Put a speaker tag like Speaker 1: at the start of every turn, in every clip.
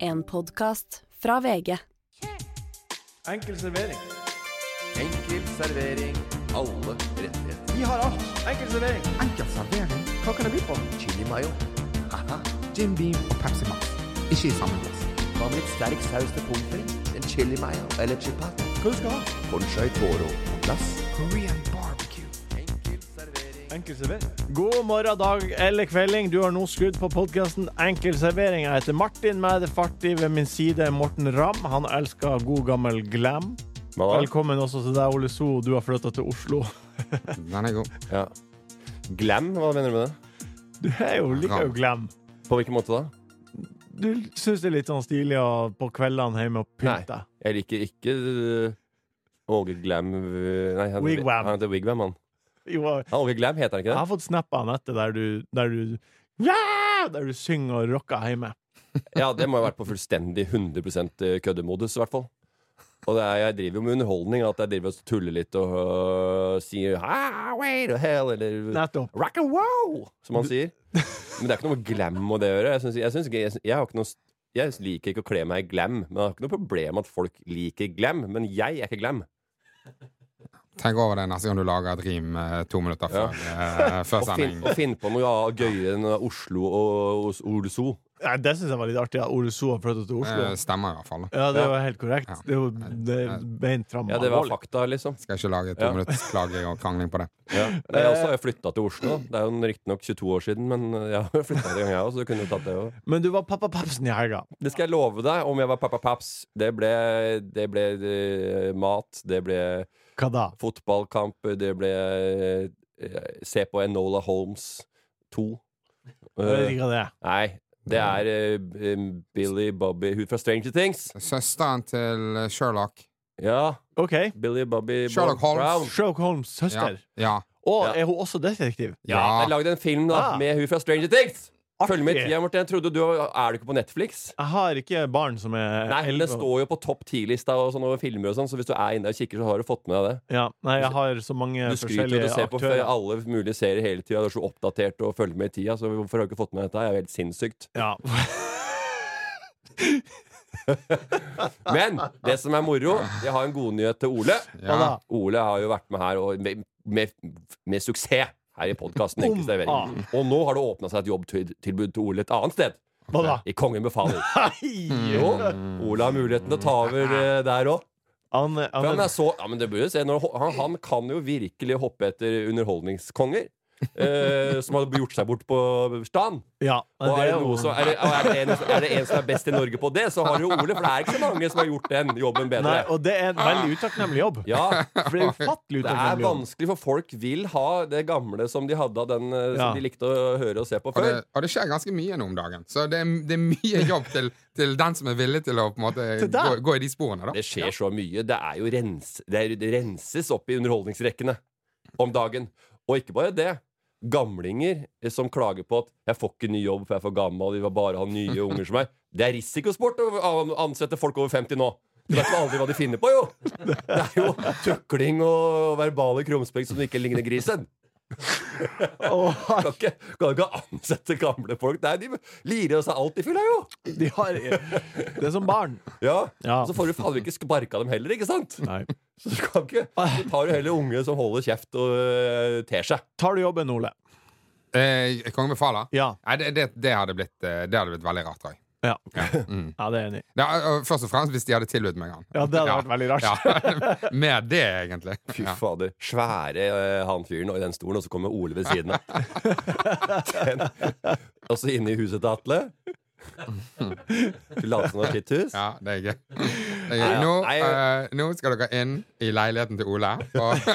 Speaker 1: En podkast fra VG.
Speaker 2: Enkel servering.
Speaker 3: Enkel servering. Alle rettigheter.
Speaker 2: Vi har alt. Enkel servering.
Speaker 4: Enkel servering,
Speaker 2: Hva kan det by på?
Speaker 3: Chili mayo. Haha.
Speaker 4: Jim Beam og Pepsi Max. Ikke i samme glass.
Speaker 3: Hva med litt sterk saus til pommes frites? En chili mayo eller chipat?
Speaker 2: Hva du skal ha?
Speaker 3: Conchai toro på glass.
Speaker 4: Korean barbecue.
Speaker 3: Enkel servering.
Speaker 2: Enkel servering. God morgen, dag eller kvelding. Du har nå skrudd på podkasten Enkel servering. Jeg heter Martin med det fartige ved min side. er Morten Ramm. Han elsker god gammel glam. Velkommen også til deg, Ole So. Du har flytta til Oslo.
Speaker 4: Den er god.
Speaker 5: Ja. Glam, hva mener du med det?
Speaker 2: Du er jo, liker jo glam.
Speaker 5: På hvilken måte da?
Speaker 2: Du syns det er litt sånn stilig å på kveldene hjemme og pynte deg.
Speaker 5: Jeg liker ikke øh, Åge Glam øh, Nei, han,
Speaker 2: Wigwam.
Speaker 5: han heter Wigwam, han.
Speaker 2: Jo,
Speaker 5: Ja, Åge Glam heter han
Speaker 2: Jeg
Speaker 5: ikke det?
Speaker 2: har fått snappa Anette der du, der du ja! Der du synger og rocker hjemme.
Speaker 5: Ja, det må ha vært på fullstendig 100 køddemodus, i hvert fall. Og det er, jeg driver jo med underholdning, at jeg driver og tuller litt og øh, sier Highway to hell, eller
Speaker 2: Nettopp.
Speaker 5: rock and roll, som han sier. Men det er ikke noe med glam og det å gjøre. Jeg, synes, jeg, synes ikke, jeg, synes- jeg har ikke noe s- jeg liker ikke å kle meg i glam, men jeg har ikke noe problem med at folk liker glam. Men jeg er ikke glam.
Speaker 4: Tenk over det neste gang du lager et rim eh, to minutter før, eh, før
Speaker 5: Og finn,
Speaker 4: sending.
Speaker 5: og finn på noe ja, gøyere enn Oslo og Os- Olso.
Speaker 2: Ja, det syns jeg var litt artig. at Ole So har flytta til Oslo.
Speaker 4: Eh, Stemmer i hvert fall.
Speaker 2: Ja, det var helt korrekt.
Speaker 4: Ja.
Speaker 2: Det var det er beint fram.
Speaker 5: Ja, det var fakta, liksom.
Speaker 4: Skal ikke lage to
Speaker 5: Ja.
Speaker 4: minutters klaging og krangling på det.
Speaker 5: Ja. Men Jeg også har flytta til Oslo. Det er jo riktignok 22 år siden, men eh, jeg har flytta en gang, jeg òg, så du kunne jo tatt det òg.
Speaker 2: Men du var pappa Papsen i helga.
Speaker 5: Det skal jeg love deg, om jeg var pappa paps. Det ble, det ble eh, mat, det ble
Speaker 2: Hva da?
Speaker 5: fotballkamp, det ble eh, Se på Enola Holmes 2.
Speaker 2: Jeg vet
Speaker 5: Eh,
Speaker 2: ikke hva det er.
Speaker 5: nei, det er eh, Billy Bobby Hun fra Stranger Things.
Speaker 4: Søsteren til Sherlock.
Speaker 5: Ja,
Speaker 2: OK.
Speaker 5: Billy Bobby
Speaker 4: Sherlock Holmes.
Speaker 5: Brown.
Speaker 2: Sherlock Holmes'
Speaker 4: Ja.
Speaker 2: søster.
Speaker 4: ja.
Speaker 2: Og
Speaker 5: Ja.
Speaker 2: er hun også detektiv?
Speaker 5: Ja,
Speaker 4: Ja.
Speaker 5: jeg lagde en film da
Speaker 2: Ah.
Speaker 5: med hun fra Stranger Things. Følg med i
Speaker 2: Artig.
Speaker 5: tida, Morten. Jeg trodde du Er du ikke på Netflix?
Speaker 2: Jeg har ikke barn som er
Speaker 5: Nei,
Speaker 2: elleve.
Speaker 5: det står jo på topp 10-lista og sånn over filmer og sånn, så hvis du er inne og kikker, så har du fått med deg det.
Speaker 2: Ja, nei, jeg har så mange
Speaker 5: Du skryter jo
Speaker 2: forskjellige
Speaker 5: og ser på
Speaker 2: aktører.
Speaker 5: alle mulige serier hele tida, du er så oppdatert og følger med i tida, så hvorfor har du ikke fått med dette? Det er jo helt sinnssykt.
Speaker 2: Ja.
Speaker 5: Men det som er moro, jeg har en god nyhet til Ole.
Speaker 2: Hva da?
Speaker 4: ja.
Speaker 5: Ole har jo vært med her og med, med, med suksess her i podkasten.
Speaker 2: Om faen.
Speaker 5: Og nå har det åpna seg et jobbtilbud til Ole et annet sted.
Speaker 2: Hva da?
Speaker 5: I Kongen befaler.
Speaker 2: Hei,
Speaker 5: Jo, Ole har muligheten til å ta over eh, der òg.
Speaker 2: Han, han,
Speaker 5: Han, er så, ja, men det bør jo se, når, ho- han, han kan jo virkelig hoppe etter underholdningskonger. eh, som har gjort seg bort på stand.
Speaker 2: ja,
Speaker 5: Og er det,
Speaker 2: jo-
Speaker 5: noe som, er, det, og er, det en, er det en som er best i Norge på det, så har du Ole. For det er ikke så mange som har gjort den jobben
Speaker 2: Nei,
Speaker 5: bedre.
Speaker 2: og det er en veldig utakknemlig jobb.
Speaker 5: Ja,
Speaker 2: For det er ufattelig
Speaker 5: Det er
Speaker 2: utakknemlig jobb.
Speaker 5: vanskelig, for folk vil ha det gamle som de hadde av den eh,
Speaker 2: Ja.
Speaker 5: som de likte å høre og se på
Speaker 4: Og det,
Speaker 5: før.
Speaker 4: og det skjer ganske mye nå om dagen. Så det er, det er mye jobb til, til den som er villig til å på en måte,
Speaker 2: Til deg.
Speaker 4: gå, gå i de sporene. da
Speaker 5: Det skjer så mye. Det er jo rens, det, er, det renses opp i underholdningsrekkene om dagen. Og ikke bare det. Gamlinger eh, som klager på at 'jeg får ikke ny jobb, for jeg er for gammel', de vil bare ha nye unger som meg. Det er risikosport å å ansette folk over 50 nå. Du vet aldri hva de finner på, jo! Det er jo tukling og verbale krumspring som ikke ligner grisen.
Speaker 2: Og
Speaker 5: Kan ikke, kan ikke ansette gamle folk. Nei, de lirer seg alt i fylla, jo!
Speaker 2: de har Det er som barn.
Speaker 5: Ja.
Speaker 2: Ja.
Speaker 5: Og så får du fader ikke sparka dem heller, ikke sant?
Speaker 2: Nei.
Speaker 5: Så du kan ikke Du tar jo heller unge som holder kjeft og øh, ter seg.
Speaker 2: Tar du jobben, Ole?
Speaker 4: Eh, Kongen befaler?
Speaker 2: Ja.
Speaker 4: Nei, det, det, det, hadde blitt, eh, det hadde blitt veldig rart, tror jeg.
Speaker 2: Ja,
Speaker 5: Mm.
Speaker 2: ja det er jeg enig. i.
Speaker 4: Ja, og først og fremst hvis de hadde tilbudt meg han.
Speaker 2: Ja, det hadde vært veldig rart.
Speaker 4: Ja. Med det, egentlig.
Speaker 5: Fy
Speaker 4: Ja.
Speaker 5: fader. Svære øh, han fyren og i den stolen, og så kommer Ole ved siden av. Den. Og så inne i huset til Atle. Du later som det er ditt hus.
Speaker 4: Ja, det er gøy. Det er gøy.
Speaker 5: Nei,
Speaker 4: Nå,
Speaker 5: nei.
Speaker 4: eh, nå skal dere inn i leiligheten til Ole. Og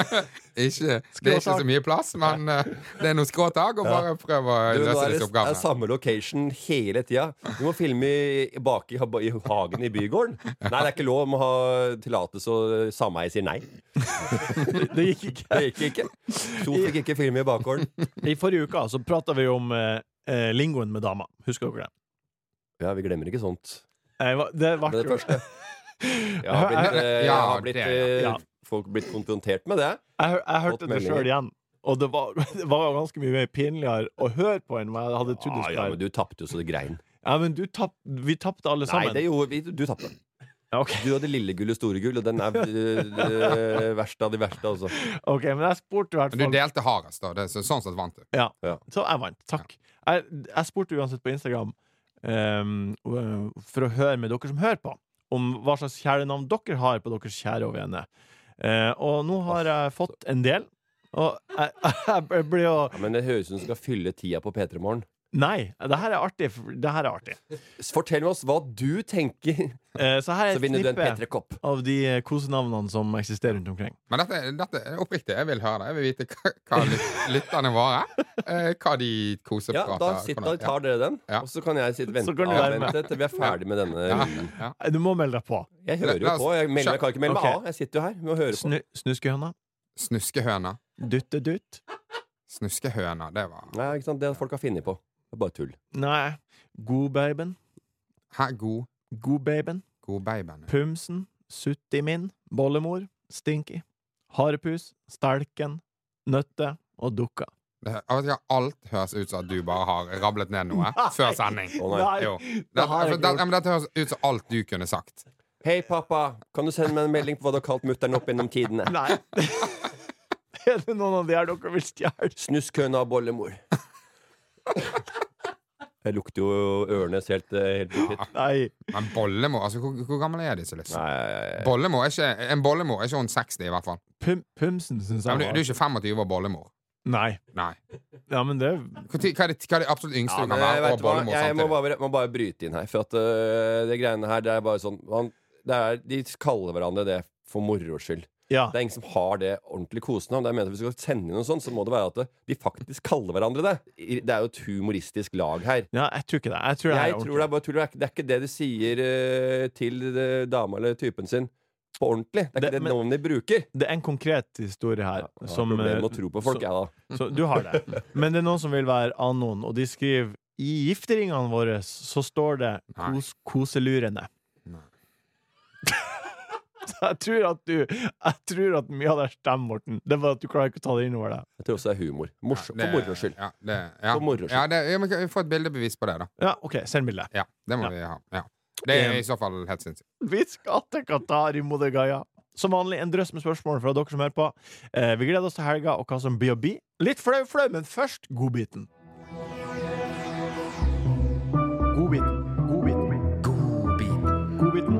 Speaker 4: ikke, det er ikke så mye plass, men eh, det er noen skråtak, og bare prøv å
Speaker 5: Du, nå
Speaker 4: løse
Speaker 5: er det
Speaker 4: disse
Speaker 5: er
Speaker 4: oppgavene.
Speaker 5: samme location hele tida. Du må filme i, bak i, ha- i hagen i bygården. Nei, det er ikke lov. Du må ha tillatelse, og sameiet sier nei.
Speaker 2: Det gikk ikke.
Speaker 5: Det gikk ikke. So fikk ikke filme i bakgården.
Speaker 2: I forrige uke så prata vi om eh, eh, lingoen med dama. Husker dere det?
Speaker 5: Ja, vi glemmer ikke sånt.
Speaker 2: Jeg var- Det
Speaker 5: Det
Speaker 2: ble
Speaker 5: er det
Speaker 2: jo
Speaker 5: første. Jeg har blitt, eh, jeg
Speaker 4: Ja,
Speaker 5: har blitt,
Speaker 4: det,
Speaker 5: eh,
Speaker 2: ja.
Speaker 5: Folk har blitt konfrontert med det.
Speaker 2: Jeg, hø- jeg hørte
Speaker 5: Fått
Speaker 2: det
Speaker 5: meldinger.
Speaker 2: sjøl igjen. Og det var, det var ganske mye mer pinligere å høre på enn hva jeg hadde trodd det
Speaker 5: Ah,
Speaker 2: skulle
Speaker 5: ja, men
Speaker 2: være.
Speaker 5: du tapte jo så det grein.
Speaker 2: Ja, men du tapp, vi tapte alle
Speaker 5: Nei,
Speaker 2: sammen.
Speaker 5: det gjorde vi. Du, du tapte.
Speaker 2: Ja, ok.
Speaker 5: Du hadde lille gull og store gull, og den er øh, verst av de verste, altså.
Speaker 2: ok, men jeg spurte i hvert
Speaker 4: Men du
Speaker 2: fall.
Speaker 4: delte hardest, da. Det, så, sånn sett vant du.
Speaker 2: Ja.
Speaker 5: Ja.
Speaker 2: Så jeg vant. Takk. Jeg, jeg spurte uansett på Instagram ehm, øh, for å høre med dere som hører på, om hva slags kjælenavn dere har på deres kjære og vene. Eh, og nå har jeg fått en del. Og jeg, jeg ble jo
Speaker 5: Ja, men det høres ut som du skal fylle tida på P3 Morgen.
Speaker 2: Nei, det her er artig. for- Det her er artig.
Speaker 5: Fortell oss hva du tenker,
Speaker 2: Eh, så her er
Speaker 5: så
Speaker 2: et
Speaker 5: vinner du en
Speaker 2: knippe
Speaker 5: P3-kopp.
Speaker 2: av de eh, kosenavnene som eksisterer rundt omkring.
Speaker 4: Men dette, dette er oppriktig. Jeg vil høre det. Jeg vil vite hva, hva lyt- lytterne våre eh, Hva de koser
Speaker 5: Ja, da sitter, da tar dere den,
Speaker 4: Ja.
Speaker 5: og så kan jeg sitte
Speaker 2: Så
Speaker 5: vente,
Speaker 2: kan du være med.
Speaker 5: avvente til vi er ferdig med denne
Speaker 4: Ja,
Speaker 5: runden.
Speaker 4: ja.
Speaker 2: Eh, Du må melde deg på.
Speaker 5: Jeg hører jo
Speaker 4: La oss-
Speaker 5: på. Jeg, melder, jeg kan ikke melde meg
Speaker 2: Ok.
Speaker 5: av. Jeg sitter jo her med å høre på.
Speaker 2: Snu, snuskehøna.
Speaker 4: Snuskehøna.
Speaker 2: Duttedutt.
Speaker 4: Snuskehøna, det var
Speaker 5: Nei, ikke sant? Det folk har funnet på. Det er bare tull.
Speaker 2: Nei. Godbaben.
Speaker 4: Hæ, god,
Speaker 2: Godbaben.
Speaker 4: god babyen.
Speaker 2: Pumsen. Sutti min. Bollemor. Stinky. Harepus. Stelken. Nøtte. Og dukka.
Speaker 4: Det, jeg vet ikke, alt høres ut som at du bare har rablet ned noe før sending.
Speaker 5: Å, nei.
Speaker 4: Jo.
Speaker 2: det har jeg
Speaker 4: Dette-
Speaker 2: ikke
Speaker 4: dette-
Speaker 2: gjort.
Speaker 4: men dette høres ut som alt du kunne sagt.
Speaker 5: Hei, pappa! Kan du sende meg en melding på hva du har kalt mutter'n opp gjennom tidene?
Speaker 2: Nei. er det noen av de her dere vil stjele?
Speaker 5: Snuskøna og bollemor. Jeg lukter jo Ørnes helt, eh, helt bukitt.
Speaker 2: Nei.
Speaker 4: Men bollemor altså, hvor, hvor gammel er disse, liksom?
Speaker 5: Nei,
Speaker 4: Bollemor er ikke, en bollemor er ikke hun 60, i hvert fall.
Speaker 5: Sånn
Speaker 2: Pum, pumsen syns
Speaker 4: Ja,
Speaker 2: jeg
Speaker 4: men du,
Speaker 2: var
Speaker 4: du er ikke 25 og bollemor.
Speaker 2: Nei.
Speaker 4: Nei.
Speaker 2: Ja, men det
Speaker 4: Hvor tid- Hva er det, hva er det absolutt yngste
Speaker 5: Ja,
Speaker 4: du
Speaker 5: men
Speaker 4: kan
Speaker 5: jeg,
Speaker 4: være?
Speaker 5: vet
Speaker 4: Og
Speaker 5: hva,
Speaker 4: bollemor
Speaker 5: jeg må
Speaker 4: samtidig.
Speaker 5: bare, må bare bryte inn her, for at øh, det greiene her, det er bare sånn man, det er, De kaller hverandre det for moro skyld.
Speaker 2: Ja.
Speaker 5: Det er ingen som har det ordentlig kosenavn. Jeg mener at Hvis du skal sende inn noe sånt, så må det være at de faktisk kaller hverandre det. I- Det er jo et humoristisk lag her.
Speaker 2: ja jeg tror ikke det. Jeg tror det
Speaker 5: Jeg
Speaker 2: er
Speaker 5: tror det er bare tull. Det er ikke- Det er ikke det de sier eh, til eh, dama eller typen sin på ordentlig. Det er
Speaker 2: Det-
Speaker 5: ikke det,
Speaker 2: men-
Speaker 5: navnet de bruker.
Speaker 2: Det er en konkret historie her.
Speaker 5: Ja,
Speaker 2: som,
Speaker 5: Problemet med å
Speaker 2: eh,
Speaker 5: tro på folk,
Speaker 2: så-
Speaker 5: jeg, da.
Speaker 2: Så du har det. Men det er noen som vil være anon, og de skriver i gifteringene våre så står det
Speaker 4: Nei.
Speaker 2: kos koselurene.
Speaker 4: Nei.
Speaker 2: Så jeg tror at du Jeg tror at mye av det stemmer, Morten. Det er bare at du klarer ikke å ta det innover deg.
Speaker 5: Jeg tror også det er humor. Morsom,
Speaker 4: Det-
Speaker 5: for moro skyld.
Speaker 4: Ja, det, ja.
Speaker 5: For moro skyld.
Speaker 4: Ja, det, ja, men kan vi få et bildebevis på det, da.
Speaker 2: Ja, OK, send bilde.
Speaker 4: Ja, det må
Speaker 2: Ja.
Speaker 4: vi ha. Ja. Det er
Speaker 2: Ehm.
Speaker 4: i så fall helt sinnssykt.
Speaker 2: Vi skal til Qatar i Modergaya. Som vanlig en drøss med spørsmål fra dere som hører på. Eh, vi gleder oss til helga og hva som blir å bli. Litt flau, flau, men først godbiten. Godbiten. Godbiten. Godbiten.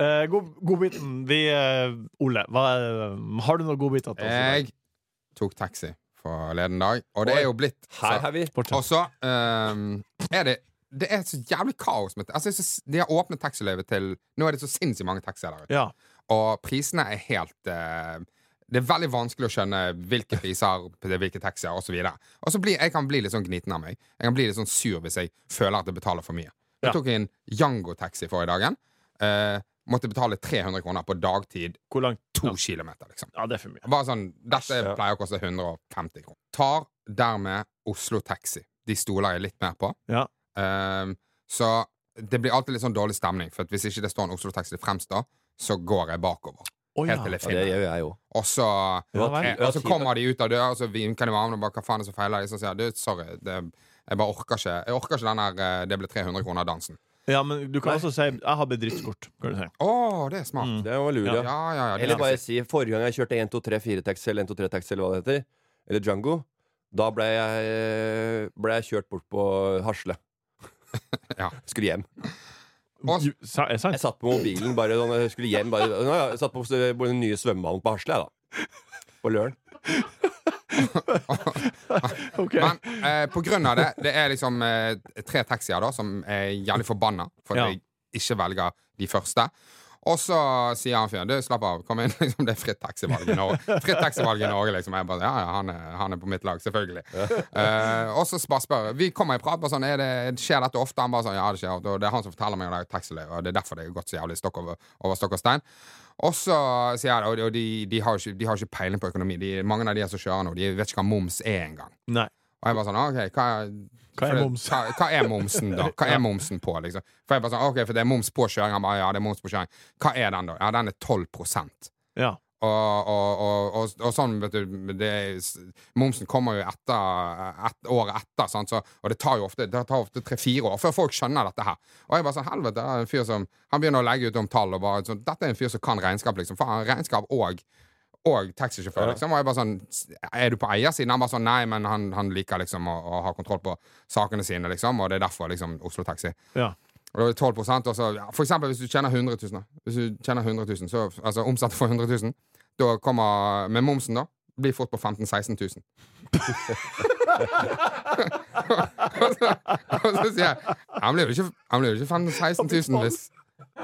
Speaker 2: Eh, god, godbiten. Vi eh, Ole, hva, er- har du noen godbiter til oss? i dag?
Speaker 4: Jeg tok taxi forleden dag, og det er jo blitt
Speaker 5: Her har vi
Speaker 4: Og så ehm, er det Det er så jævlig kaos med altså, jeg synes De har åpnet taxiløyvet til Nå er det så sinnssykt mange taxier der ute.
Speaker 2: Ja.
Speaker 4: Og prisene er helt eh, Det er veldig vanskelig å skjønne hvilke priser til hvilke taxier osv. Og så blir- jeg kan bli litt sånn gniten av meg. Jeg kan bli litt sånn sur hvis jeg føler at jeg betaler for mye.
Speaker 2: Ja.
Speaker 4: Jeg tok en Jango-taxi forrige dagen. Eh, måtte betale 300 kroner på dagtid.
Speaker 2: Hvor langt?
Speaker 4: To kilometer, liksom.
Speaker 2: Ja, det er for mye.
Speaker 4: Bare sånn, Dette
Speaker 5: Ja.
Speaker 4: pleier å koste 150 kroner. Tar dermed Oslo Taxi. De stoler jeg litt mer på.
Speaker 2: Ja.
Speaker 4: Ehm, så det blir alltid litt sånn dårlig stemning, for at hvis ikke det står en Oslo Taxi fremst, da, så går jeg bakover.
Speaker 2: Å,
Speaker 4: Helt til jeg
Speaker 5: Ja, det
Speaker 4: finner.
Speaker 5: gjør jeg òg.
Speaker 4: Og så,
Speaker 2: Ja vel.
Speaker 4: eh, og så kommer de ut av døra, og så vinker de med armene og bare 'hva faen er det som feiler?' deg?» Så sier jeg «Du, 'sorry, det, jeg bare orker ikke Jeg orker ikke den der eh, 'det ble 300 kroner'-dansen'.
Speaker 2: Ja, men du kan også si 'jeg har bedriftskort'. Kan du si.
Speaker 4: Å, det er smart.
Speaker 2: Mm.
Speaker 5: Det var lur,
Speaker 4: Ja,
Speaker 5: ja.
Speaker 4: ja, ja. det
Speaker 5: Eller
Speaker 4: er
Speaker 5: bare
Speaker 4: smart.
Speaker 5: si forrige gang jeg kjørte 1, 2, 3, 4 taxi eller 1, 2, 3 taxi eller hva det heter, eller Django, Da ble jeg, ble jeg kjørt bort på Hasle.
Speaker 4: Ja.
Speaker 5: Skulle hjem.
Speaker 4: Og-
Speaker 2: Ju- sa- Er sant?
Speaker 5: Jeg satt på mobilen bare da jeg skulle hjem. Bare, nå, har jeg satt på den nye svømmehallen på Hasle, jeg, da. På Løren.
Speaker 2: Ok.
Speaker 4: Men eh, på grunn av det, det er liksom eh, tre taxier da som er jævlig forbanna for at
Speaker 2: Ja.
Speaker 4: jeg ikke velger de første. Og så sier han fyren du, slapp av, kom inn. Liksom, det er fritt taxivalg i Norge. Fritt taxivalg i Norge, liksom. Jeg bare, ja, ja, han er, han er på mitt lag, selvfølgelig. Eh, og så bare spør Vi kommer i prat, bare sånn, er det, skjer dette ofte? Han bare sånn, ja, det skjer ofte. Og det er han som forteller meg om det er taxiløy, og det er derfor det har gått så jævlig stokk over, over stokk og stein. Og så sier jeg det, og de, og de, de, har ikke, de har ikke peiling på økonomi. De, mange av de som kjører nå, de vet ikke hva moms er engang.
Speaker 2: Nei.
Speaker 4: Og jeg bare sånn, ok, hva er,
Speaker 2: Hva er
Speaker 4: for det-
Speaker 2: moms?
Speaker 4: Hva, hva er momsen da? Hva er momsen på, liksom? For jeg bare sånn, ok, for det er moms på kjøring. Han bare, ja, det er moms på kjøring. Hva er den da? Ja, den er 12 prosent.
Speaker 2: Ja.
Speaker 4: Og, og, og, og, og sånn, vet du, det, er s- momsen kommer jo etter, et, året etter, sant? Så, og det tar jo ofte, det tar ofte tre-fire år før folk skjønner dette her. Og jeg bare sånn, helvete, det er en fyr som, han begynner å legge ut om tall og bare, sånn, dette er en fyr som kan regnskap, liksom. Faen, regnskap og og taxisjåfør, liksom. Og jeg bare sånn Er du på eiersiden? Han bare sånn Nei, men han, han liker liksom å, å ha kontroll på sakene sine, liksom. Og det er derfor liksom Oslo Taxi.
Speaker 2: Ja.
Speaker 4: Og det er 12 og så, ja, For eksempel hvis du tjener 100 000, da. Hvis du tjener 100 000, så, altså omsetter for 100 000, da kommer Med momsen, da. Blir fort på 15 000-16 000. og, så, og så sier jeg Han blir jo ikke, han blir jo ikke 15 000-16 000 hvis,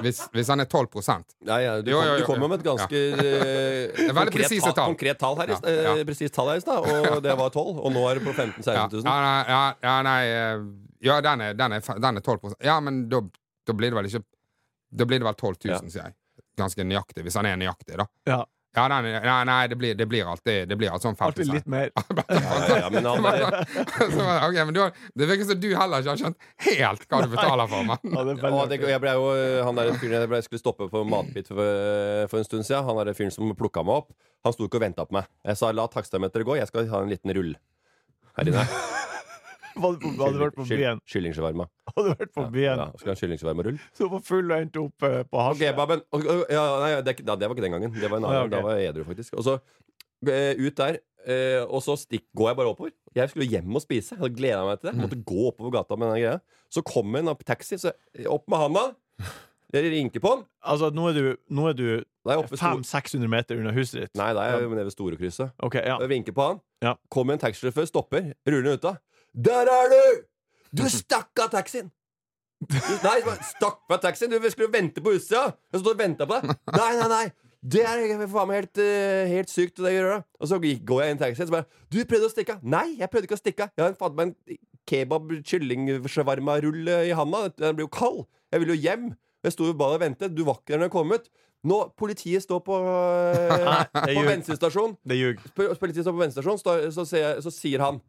Speaker 4: hvis, hvis han er 12
Speaker 5: Nei, ja, du,
Speaker 4: Jo, jo,
Speaker 5: kom,
Speaker 4: jo,
Speaker 5: du kommer med et
Speaker 4: ja.
Speaker 5: ganske eh,
Speaker 4: er veldig
Speaker 5: konkret,
Speaker 4: presise tall.
Speaker 5: konkret tall her i st-
Speaker 4: Ja, ja.
Speaker 5: eh, presist tall her i stad, og det var 12. Og nå er det på 15
Speaker 4: Ja,
Speaker 5: 000-16 000.
Speaker 4: ja, ja, ja, nei eh, Ja, den er, den er, fa- den er 12 Ja, men da, da blir det vel ikke Da blir det vel 12 000, sier jeg. Ganske nøyaktig, hvis han er nøyaktig, da.
Speaker 2: ja.
Speaker 4: Ja, den er, nei, nei, det blir, det blir alltid Det blir alltid sånn 50
Speaker 2: Alltid litt mer.
Speaker 5: Ja, ja, ja, men han bare
Speaker 4: Så bare, ok, men du, har- det virker som du heller ikke har skjønt helt hva du betaler for, mann.
Speaker 2: Ja, det er veldig
Speaker 5: Og det,
Speaker 2: artig.
Speaker 5: jeg ble jo, eh, han der fyren jeg ble, skulle stoppe på matbit for, eh, for en stund siden, han der fyren som plukka meg opp, han sto ikke og venta på meg. Jeg sa la takstameteret gå, jeg skal ha en liten rull. Her inne.
Speaker 2: Hadde hadde vært på
Speaker 5: Kylling-
Speaker 2: byen,
Speaker 5: Kyllingshawarma.
Speaker 2: hadde vært på byen
Speaker 5: Ja, skal ha en kyllingshawarma-rull.
Speaker 2: så var full og endte opp eh, på
Speaker 5: Og
Speaker 2: hasj.
Speaker 5: kebaben og, og, ja, nei, det, nei, det var ikke den gangen. Det var
Speaker 2: Å,
Speaker 5: en
Speaker 2: ja, Ah, ok.
Speaker 5: annen gang. Da var jeg edru, faktisk. Og så eh, ut der, eh, og så stikk, går jeg bare oppover. Jeg skulle hjem og spise. Jeg hadde gleda meg
Speaker 2: Mm.
Speaker 5: til det. Jeg måtte gå oppover gata med den greia. Så kom en taxi. Så opp med handa. Dere rinker på den.
Speaker 2: Altså, nå er du, nå er du
Speaker 5: Da er jeg oppe ved stor-
Speaker 2: 500-600 meter under huset ditt.
Speaker 5: Nei, da er jeg nede ved Storekrysset.
Speaker 2: Ok, ja.
Speaker 5: Jeg vinker på han.
Speaker 2: Ja.
Speaker 5: Kommer en taxisjåfør, stopper, ruller ut av. Der er du! Du stakk av taxien! Du, nei, du stakk fra taxien! Du vi skulle jo vente på utsida! Jeg stod og venta på deg! Nei, nei, nei! Det er faen meg helt, eh, helt sykt. Det gjør det. Og så gikk- går jeg inn i taxien, så bare Du prøvde å stikke av! Nei, jeg prøvde ikke å stikke av! Jeg har faen meg en kebab kylling shawarma rull eh, i handa. Den blir jo kald! Jeg vil jo hjem! Jeg sto jo bare og ventet. Du var ikke der når jeg kom ut. Nå, politiet står på, eh,
Speaker 2: det
Speaker 5: på
Speaker 2: gjør-
Speaker 5: bensinstasjonen.
Speaker 2: Det ljug.
Speaker 5: Sp- Politiet står på bensinstasjonen, så, så, ser jeg- så sier han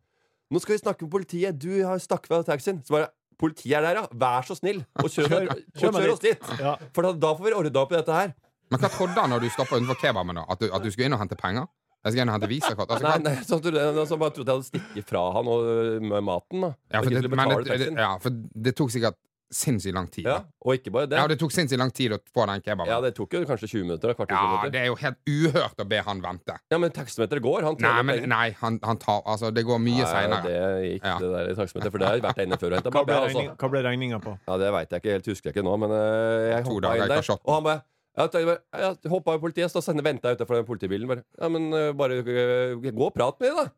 Speaker 5: Nå skal vi snakke med politiet. Du har stakk fra taxien. Så bare Politiet er der, ja. Vær så snill, og kjør,
Speaker 2: Kjør-
Speaker 5: og
Speaker 2: kjør meg
Speaker 5: kjør oss dit.
Speaker 2: Ja.
Speaker 5: For da, da får vi ordna opp i dette her.
Speaker 4: Men hva trodde han når du stoppa utenfor kebaben, da? At du, at du skulle inn og hente penger? Jeg skal inn og hente visakort. Altså,
Speaker 5: Nei,
Speaker 4: hva-
Speaker 5: nei, så, trodde jeg- så bare trodde jeg hadde stikket fra han og øh, med maten. da
Speaker 4: ja,
Speaker 5: Og
Speaker 4: for
Speaker 5: ikke
Speaker 4: det,
Speaker 5: skulle
Speaker 4: men
Speaker 5: betale
Speaker 4: det, det,
Speaker 5: taxien.
Speaker 4: ja, for det tok sikkert sinnssykt lang tid.
Speaker 5: ja,
Speaker 4: da.
Speaker 5: Og ikke bare det.
Speaker 4: Ja, det tok sinnssykt lang tid å få den kebaben.
Speaker 5: Ja, det tok jo kanskje 20 minutter. da, Kvarter, 20
Speaker 4: Ja,
Speaker 5: minutter.
Speaker 4: det er jo helt uhørt å be han vente.
Speaker 5: ja, Men taksameteret går. Han tjener
Speaker 4: Nei, men
Speaker 5: penger.
Speaker 4: nei, han, han tar Altså, det går mye
Speaker 5: Nei,
Speaker 4: seinere.
Speaker 5: det gikk
Speaker 4: Ja.
Speaker 5: det der i taksameteret, for det har jeg vært der inne før og henta
Speaker 2: Hva
Speaker 5: babbe.
Speaker 2: ble,
Speaker 5: Altså.
Speaker 2: regning, hva ble regninga på?
Speaker 5: Ja, det veit jeg ikke helt, husker jeg ikke nå, men øh, jeg
Speaker 4: To
Speaker 5: hoppa
Speaker 4: dager
Speaker 5: inn
Speaker 4: etter
Speaker 5: der.
Speaker 4: shotten.
Speaker 5: Og han bare jeg tenkte bare, jeg hoppa i politiet, så venta jeg utafor den politibilen. Bare, ja, men øh, bare øh, gå og prat med dem, da.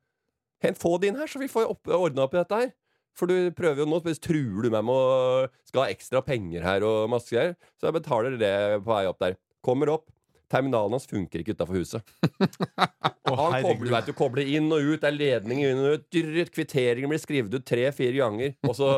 Speaker 5: Hent få de inn her, så vi får opp- ordna opp i dette her. For du prøver jo nå, så truer du meg med å eh, skal ha ekstra penger her og masse greier. Så jeg betaler det på vei opp der. Kommer opp. Terminalen hans funker ikke utafor huset.
Speaker 2: Å,
Speaker 5: Og han kobler,
Speaker 2: herregud.
Speaker 5: du vet, du kobler inn og ut, det er ledninger inn og ut, dyrret, kvitteringer blir skrevet ut tre-fire ganger. Og så,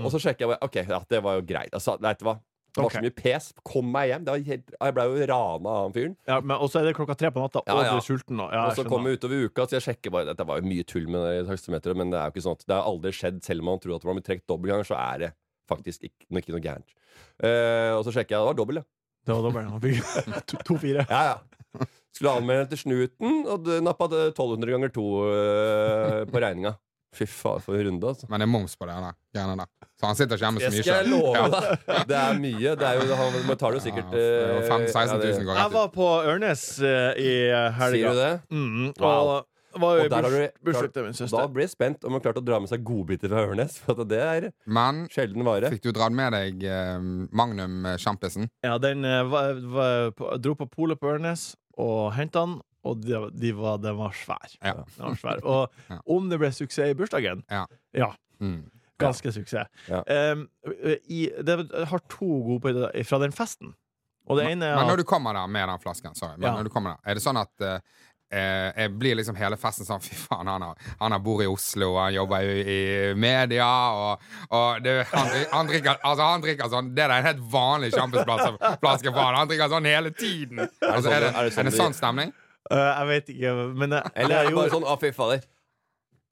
Speaker 5: og så sjekker jeg bare, ok, ja, det var jo greit. Altså, vet du hva? Det var
Speaker 2: Mm. Ok.
Speaker 5: så mye pes. Kom meg hjem. Det var helt, jeg ble jo rana av han fyren.
Speaker 2: Ja, men også er det klokka tre på natta,
Speaker 5: Ja,
Speaker 2: og
Speaker 5: ja.
Speaker 2: du er sulten nå. Ja,
Speaker 5: Og
Speaker 2: jeg
Speaker 5: så
Speaker 2: skjønner.
Speaker 5: kom jeg utover uka, så jeg sjekker bare Dette var jo mye tull med det taksameteret, men det er jo ikke sånn at det har aldri skjedd. Selv om man tror at man blir trukket dobbeltganger, så er det faktisk ikke, ikke noe gærent. Eh, og så sjekker jeg, det var dobbelt, ja.
Speaker 2: Det var dobbelt. Han fikk to- to-fire.
Speaker 5: Ja, ja. Skulle anmelde til snuten, og d- nappa det 1200 ganger to eh, på regninga. Fy faen, for en runde, altså.
Speaker 4: Men det er moms på det der. Gjerne der. Så han sitter ikke hjemme så
Speaker 5: Det
Speaker 4: mye
Speaker 5: skal jeg
Speaker 4: selv.
Speaker 5: love deg. Det er mye. Det er jo, han betaler jo sikkert
Speaker 4: Ja,
Speaker 5: eh,
Speaker 4: 5 16 000
Speaker 2: Jeg
Speaker 4: går rett ut.
Speaker 2: var på Ørnes eh, i
Speaker 5: ja, det,
Speaker 2: helga.
Speaker 5: Sier du det?
Speaker 2: Mm, og
Speaker 5: Wow.
Speaker 2: var jo i
Speaker 5: Og der har
Speaker 2: burs-
Speaker 5: du-
Speaker 2: bursdag til min
Speaker 5: Da
Speaker 2: søster.
Speaker 5: ble jeg spent om hun klarte å dra med seg godbiter fra Ørnes. For at det er
Speaker 4: Men
Speaker 5: sjelden vare.
Speaker 4: fikk du dratt med deg eh, Magnum eh, Champisen?
Speaker 2: Ja, den eh, var, var, på, dro på polet på Ørnes og henta den, og de, de var, den var svær.
Speaker 4: Ja.
Speaker 2: Den var svær. Og
Speaker 4: Ja.
Speaker 2: om det ble suksess i bursdagen
Speaker 4: Ja.
Speaker 2: ja
Speaker 4: Mm.
Speaker 2: ganske suksess.
Speaker 5: Ja.
Speaker 2: Em, i, det jeg har to godbiter fra den festen. Og det ene er
Speaker 4: Men
Speaker 2: at-
Speaker 4: når du kommer der med den flasken, sorry, men
Speaker 2: Ja.
Speaker 4: når du kommer der, er det sånn at eh, eh, jeg blir liksom hele festen sånn Fy faen, han har, han har bor i Oslo, og han jobber jo i media, og, og det, han, dri- han, drikker, altså, han drikker sånn Det er en helt vanlig sjampisflaske for han. Han drikker sånn hele tiden! Altså, er, det, er, det sånn,
Speaker 5: de-
Speaker 4: stemning?
Speaker 2: Eh, Jeg vet ikke, men jeg,
Speaker 5: Eller er
Speaker 2: jeg
Speaker 5: det bare
Speaker 2: gjorde
Speaker 5: sånn Å, fy fader.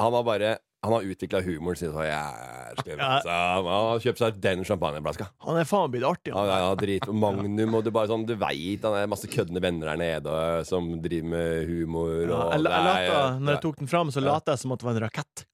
Speaker 5: Han har bare Han har utvikla humoren sin. Så jeg skal
Speaker 2: Ja.
Speaker 5: vise ham». Han har kjøpt seg den champagneflaska.
Speaker 2: Han er faen blitt artig.
Speaker 5: Ja,
Speaker 2: Han.
Speaker 5: ja, ja, drit Magnum og du bare sånn Du veit han er masse køddende venner her nede og, som driver med humor
Speaker 2: Ja,
Speaker 5: og
Speaker 2: jeg,
Speaker 5: det
Speaker 2: jeg
Speaker 5: er-
Speaker 2: lata, når jeg tok den fram, så lata jeg som at det var en rakett.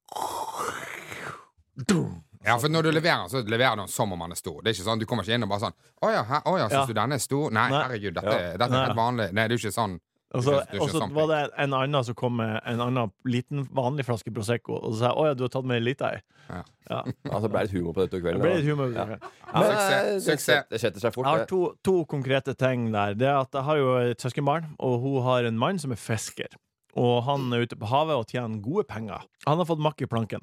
Speaker 4: Ja, for når du leverer den, så leverer du den som om den er stor. Det er ikke sånn, Du kommer ikke inn og bare sånn Å ja, her, å ja syns
Speaker 2: Ja.
Speaker 4: du denne er stor? Nei,
Speaker 2: Nei.
Speaker 4: herregud, dette, dette er
Speaker 2: Nei.
Speaker 4: helt vanlig. Nei, det er jo ikke sånn.
Speaker 2: Og så
Speaker 4: Det er ikke
Speaker 2: og så
Speaker 4: sånn
Speaker 2: var det en annen som kom med en annen liten, vanlig flaske Prosecco, og så sa jeg å ja, du har tatt med ei lita ei.
Speaker 4: Ja.
Speaker 2: Ja.
Speaker 5: Ja, så ble det litt humor på dette
Speaker 2: Det
Speaker 5: kvelden.
Speaker 2: ble
Speaker 5: da.
Speaker 2: litt humor.
Speaker 5: Ja.
Speaker 4: Ja,
Speaker 5: Men,
Speaker 4: suksess,
Speaker 5: eh, det
Speaker 4: suksess.
Speaker 5: set- Det setter seg fort.
Speaker 2: Jeg har
Speaker 5: det.
Speaker 2: to, to konkrete ting der. Det er at Jeg har jo et søskenbarn, og hun har en mann som er fisker. Og han er ute på havet og tjener gode penger. Han har fått makk i planken.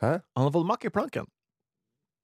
Speaker 5: Hæ?
Speaker 2: Han har fått makk i planken.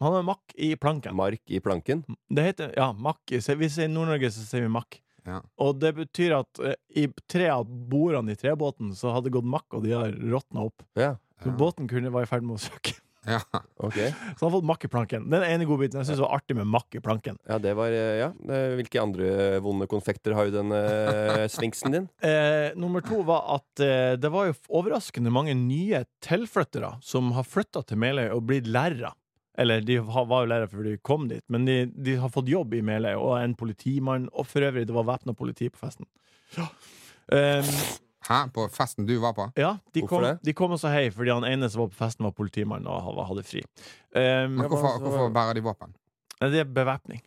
Speaker 2: Han har makk i planken.
Speaker 5: Mark i planken.
Speaker 2: Det heter, ja, makk. Se- Hvis det er i Nord-Norge, så sier vi makk.
Speaker 4: Ja.
Speaker 2: Og det betyr at eh, i tre av bordene i trebåten så hadde det gått makk, og de har råtna opp.
Speaker 5: Ja,
Speaker 2: Så båten kunne var i ferd med å søke.
Speaker 4: Ja.
Speaker 5: ok
Speaker 2: Så han har fått makk i planken. Den ene godbiten. Jeg syns det var artig med makk i planken.
Speaker 5: Ja, det var eh, Ja. Eh, Hvilke andre eh, vonde konfekter har jo den eh, sfinksen din?
Speaker 2: Eh, nummer to var at eh, det var jo overraskende mange nye tilflyttere som har flytta til Meløy og blitt lærere. Eller de ha- var jo lærere før de kom dit, men de, de har fått jobb i Meløy, og en politimann, og for øvrig, det var væpna politi på festen. Eh,
Speaker 4: Hæ? På festen du var på?
Speaker 2: ja, de
Speaker 5: Hvorfor
Speaker 2: kom,
Speaker 5: det?
Speaker 2: de kom og sa hei, fordi han ene som var på festen, var politimann og ha- hadde fri. Eh,
Speaker 4: Men hvorfor, hvorfor bærer de våpen?
Speaker 2: det er bevæpning.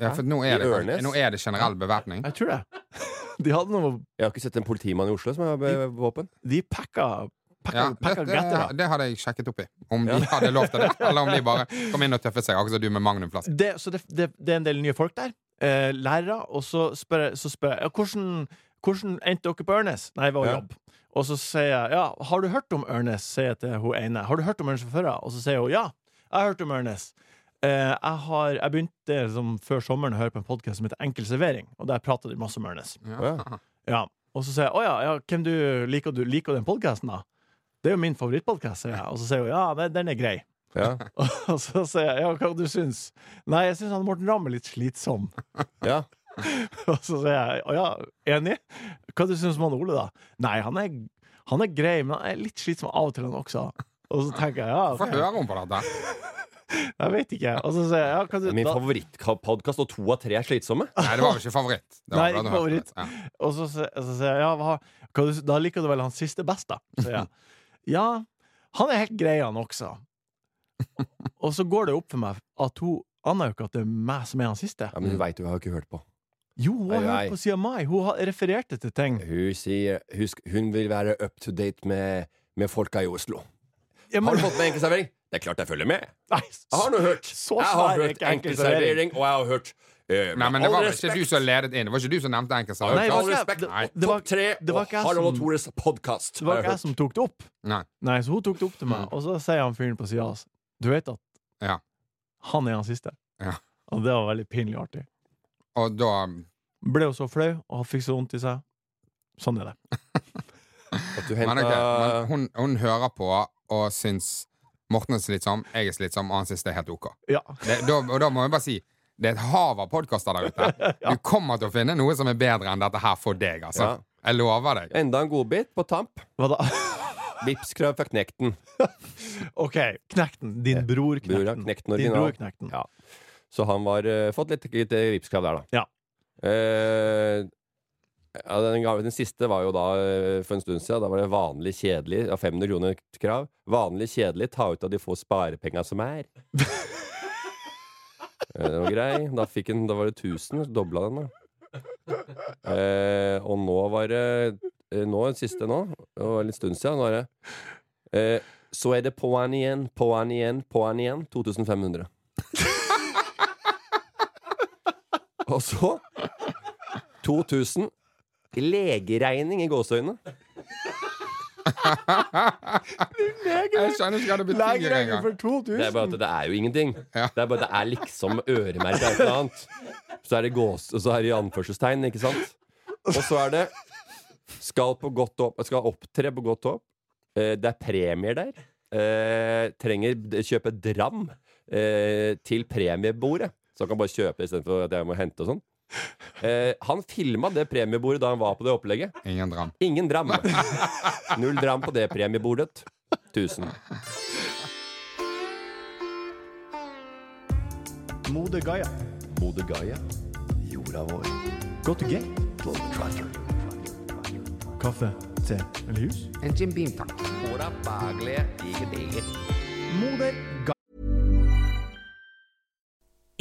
Speaker 4: Ja, for nå er,
Speaker 5: I
Speaker 4: det,
Speaker 5: Ørnes?
Speaker 4: kanskje- nå er det generell bevæpning.
Speaker 2: Jeg tror det. De hadde noe
Speaker 5: Jeg har ikke sett en politimann i Oslo som har eh, våpen.
Speaker 2: De packa, packa,
Speaker 4: Ja,
Speaker 2: packa
Speaker 4: det,
Speaker 2: grettere.
Speaker 4: det hadde jeg sjekket opp i. Om de hadde lov til det, eller om de bare kom inn og tøffet seg. Akkurat som du med Magnum-flaske.
Speaker 2: det, så det, det, det er en del nye folk der. Eh, lærere. Og så spør jeg, så spør jeg ja, hvordan, hvordan endte dere på Ørnes? Nei, det var
Speaker 5: Ja.
Speaker 2: jobb. Og så sier jeg ja, har du hørt om Ørnes? Sier jeg til hun ene. Har du hørt om Ørnes fra før? ja? Og så sier hun ja, jeg har hørt om Ørnes. Eh, jeg, har, jeg begynte som før sommeren å høre på en podkast som heter Enkel servering, og der prater de masse om Ørnes.
Speaker 4: Ja.
Speaker 2: Ja. Og så sier jeg å ja, ja, hvem du liker du? Liker du den podkasten, da? Det er jo min favorittpodkast, sier jeg. Og så sier hun ja, den- den er grei.
Speaker 5: Ja,
Speaker 2: Og så sier jeg ja, hva du syns? Nei, jeg syns han Morten Ramm er litt slitsom.
Speaker 5: ja.
Speaker 2: Og så sier jeg å ja, enig. Hva du syns om han Ole, da? Nei, han er, han er grei, men han er litt slitsom av og til, han også. Og så tenker jeg ja, ok,
Speaker 4: Hvorfor hører hun på dette?
Speaker 2: jeg vet ikke. Og så sier jeg ja, hva du
Speaker 5: Min
Speaker 2: da?
Speaker 5: favorittpodkast, og to av tre er slitsomme.
Speaker 4: Nei, det var jo ikke favoritt. Det var
Speaker 2: Nei,
Speaker 4: bra du
Speaker 2: ikke
Speaker 4: hørte det.
Speaker 2: favoritt. Og så sier så sier jeg ja, hva, hva du, da liker du vel han siste best, da? Sier jeg. Ja, han er helt grei, han også. Og så går det opp for meg at hun aner jo ikke at det er meg som er han siste.
Speaker 5: Ja, Men hun veit jo, jeg har ikke hørt på.
Speaker 2: Jo, hun har
Speaker 5: Ai, ai.
Speaker 2: hørt på siden mai. Hun har- refererte til ting.
Speaker 5: Hun sier husk, hun vil være up to date med, med folka i Oslo.
Speaker 2: Ja, men-
Speaker 5: Har du fått med enkeltservering? Det er klart jeg følger med!
Speaker 2: Nei,
Speaker 5: Jeg har nå hørt.
Speaker 2: Så svær
Speaker 5: jeg har
Speaker 2: er
Speaker 5: hørt
Speaker 2: ikke enkeltservering.
Speaker 5: enkeltservering, og jeg har hørt
Speaker 4: Nei,
Speaker 5: eh,
Speaker 4: men
Speaker 5: med
Speaker 4: det
Speaker 5: all
Speaker 4: var vel ikke
Speaker 5: respekt-
Speaker 4: du som ledet inn. Det var ikke du som nevnte
Speaker 2: Nei,
Speaker 5: Med
Speaker 2: det
Speaker 4: enkeltservice.
Speaker 2: var
Speaker 5: all
Speaker 2: ikke-
Speaker 5: respekt,
Speaker 2: det- det var-
Speaker 5: topp tre
Speaker 2: det var ikke jeg
Speaker 5: og Harald og
Speaker 2: som-
Speaker 5: Tores podkast.
Speaker 2: det var ikke jeg som tok det opp.
Speaker 4: Nei.
Speaker 2: Nei, så hun tok det opp til
Speaker 5: Mm.
Speaker 2: meg, og så sier han fyren på sida hans Du vet at
Speaker 4: Ja.
Speaker 2: han er han siste.
Speaker 4: Ja.
Speaker 2: Og det var veldig pinlig artig.
Speaker 4: Og da
Speaker 2: Ble jo så flau og fikk så vondt i seg. Sånn er det.
Speaker 5: At du
Speaker 4: Men,
Speaker 5: henta
Speaker 4: ok,
Speaker 5: eh,
Speaker 4: men hun, hun hører på og syns Morten er slitsom, jeg er slitsom, og han syns det er helt OK.
Speaker 2: Ja.
Speaker 4: Det, da, og da må jeg bare si det er et hav av podkaster der ute. Du kommer til å finne noe som er bedre enn dette her for deg, altså.
Speaker 5: Ja.
Speaker 4: Jeg lover deg.
Speaker 5: eh, Enda en godbit på tamp.
Speaker 2: Hva da?
Speaker 5: Vipskrav fra Knekten.
Speaker 2: OK, Knekten. Din bror
Speaker 5: Bror, ja,
Speaker 2: Knekten.
Speaker 5: Knekten
Speaker 2: Din
Speaker 5: original.
Speaker 2: bror Knekten.
Speaker 5: Ja. Så han var eh, fått litt, litt eh, vipskrav der, da.
Speaker 2: Ja.
Speaker 5: Eh, ja, den, ga- den siste var jo da eh, for en stund siden. Da var det vanlig kjedelig. Ja, 500 kroner krav. Vanlig kjedelig, ta ut av de få sparepenga som er. Eh, Den var grei. Da, fikk den, da var det 1000, så dobla den, da. Eh, og nå var det eh, nå, den siste nå, og en litt stund siden, nå er det eh, Så er det på'n igjen, på'n igjen, på'n igjen. 2500. og så 2000 legeregning i gåseøynene.
Speaker 4: Jeg skjønner ikke hva det betyr
Speaker 2: Legeregning
Speaker 4: engang.
Speaker 2: for 2000!
Speaker 5: Det er bare at det er jo ingenting.
Speaker 4: Ja.
Speaker 5: Det er bare at det er liksom øremerka et eller annet. Så er det gås, og så er det i anførselstegn, ikke sant? Og så er det skal, på godt opp, skal opptre på godt håp. Eh, det er premier der. Eh, trenger d- kjøpe dram eh, til premiebordet. Så han kan bare kjøpe istedenfor at jeg må hente og sånn. Eh, han filma det premiebordet da han var på det opplegget.
Speaker 4: Ingen dram.
Speaker 5: Ingen dram. Null dram på det premiebordet. Tusen.
Speaker 2: Mode Gaia.
Speaker 3: Mode Gaia. Jorda vår.
Speaker 2: Go to gate.
Speaker 3: Globe Trotter.
Speaker 2: Kaffe, te eller hus?
Speaker 3: En Jim Beam, takk. Hora baglige, ikke deler.
Speaker 2: Mode Gaia.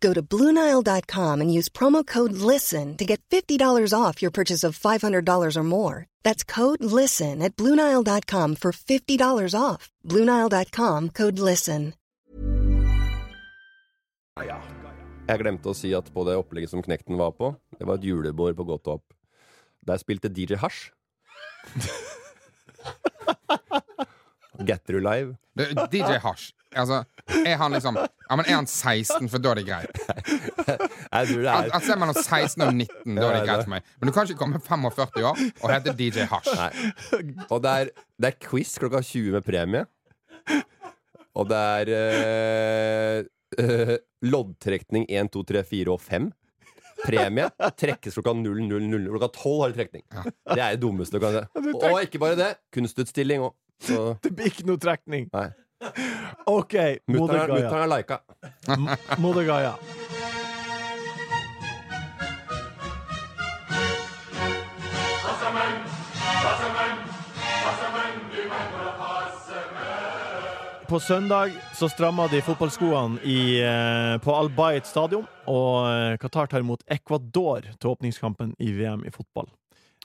Speaker 6: Go to BlueNile.com and use promo code LISTEN to get $50 off your purchase of $500 or more. That's code LISTEN at BlueNile.com for $50 off. BlueNile.com code LISTEN.
Speaker 5: Jeg glemte å si at på det opplegget som Knekten var på, det var et julebord på Godt Håp. Der spilte DJ Hasj. Get Through Live.
Speaker 4: Det- DJ Hash. Altså, er han liksom Ja, men er han 16, for da er det greit.
Speaker 5: Jeg tror det
Speaker 4: Al-
Speaker 5: er
Speaker 4: Altså, er mellom 16 og 19, da er det greit for meg. Men du kan ikke komme 45 år og hete DJ Hash.
Speaker 5: Nei. Og det er, det er quiz klokka 20 med premie. Og det er eh, eh, loddtrekning 1, 2, 3, 4 og 5. Premie trekkes klokka 00.00. Klokka 12 har de trekning. Det er det dummeste du kan gjøre. Og ikke bare det. Kunstutstilling òg.
Speaker 2: Det blir ikke noe trekning.
Speaker 5: Nei.
Speaker 2: OK, Mode
Speaker 5: Mutter'n
Speaker 2: Gaia.
Speaker 5: har lika.
Speaker 2: Mode Gaia. På søndag så stramma de fotballskoene i, eh, på Al Bayt stadion, og eh, Qatar tar imot Ecuador til åpningskampen i VM i fotball.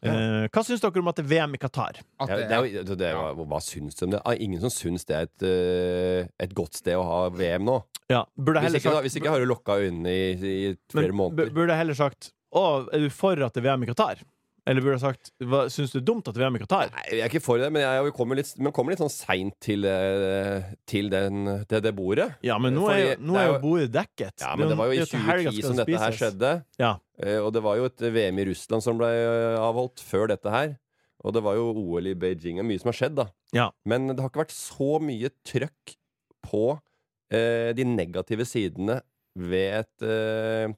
Speaker 2: Eh, hva syns dere om at det er VM i Qatar?
Speaker 4: At
Speaker 5: Ja,
Speaker 4: det
Speaker 5: det er,
Speaker 4: er,
Speaker 5: jo- det, det, hva, hva syns de om det? Ah, Ingen som syns det er et, eh, et godt sted å ha VM nå.
Speaker 2: Ja, burde
Speaker 5: Hvis
Speaker 2: heller
Speaker 5: ikke, da,
Speaker 2: sagt,
Speaker 5: hvis ikke har du lukka øynene i, i
Speaker 2: men,
Speaker 5: flere
Speaker 2: bu-
Speaker 5: måneder.
Speaker 2: burde heller sagt Å, er du for at det er VM i Qatar? Eller burde jeg sagt hva, Syns du det er dumt at det er VM i Qatar?
Speaker 5: Nei, jeg er ikke for det, men jeg er jo- kommer litt, men kommer litt sånn seint til, eh, til, den, til det bordet.
Speaker 2: Ja, men nå
Speaker 5: Fordi
Speaker 2: er, nå
Speaker 5: det
Speaker 2: er
Speaker 5: er
Speaker 2: jo
Speaker 5: jo-
Speaker 2: bordet dekket.
Speaker 5: Ja, men det var jo i
Speaker 2: er til helga
Speaker 5: 2010
Speaker 2: skal
Speaker 5: som
Speaker 2: det
Speaker 5: dette her
Speaker 2: spises.
Speaker 5: skjedde.
Speaker 2: Ja.
Speaker 5: Eh, Og det var jo et VM i Russland som ble eh, avholdt før dette her. Og det var jo OL i Beijing og mye som har skjedd, da.
Speaker 2: Ja.
Speaker 5: Men det har ikke vært så mye trøkk på eh, de negative sidene ved et eh,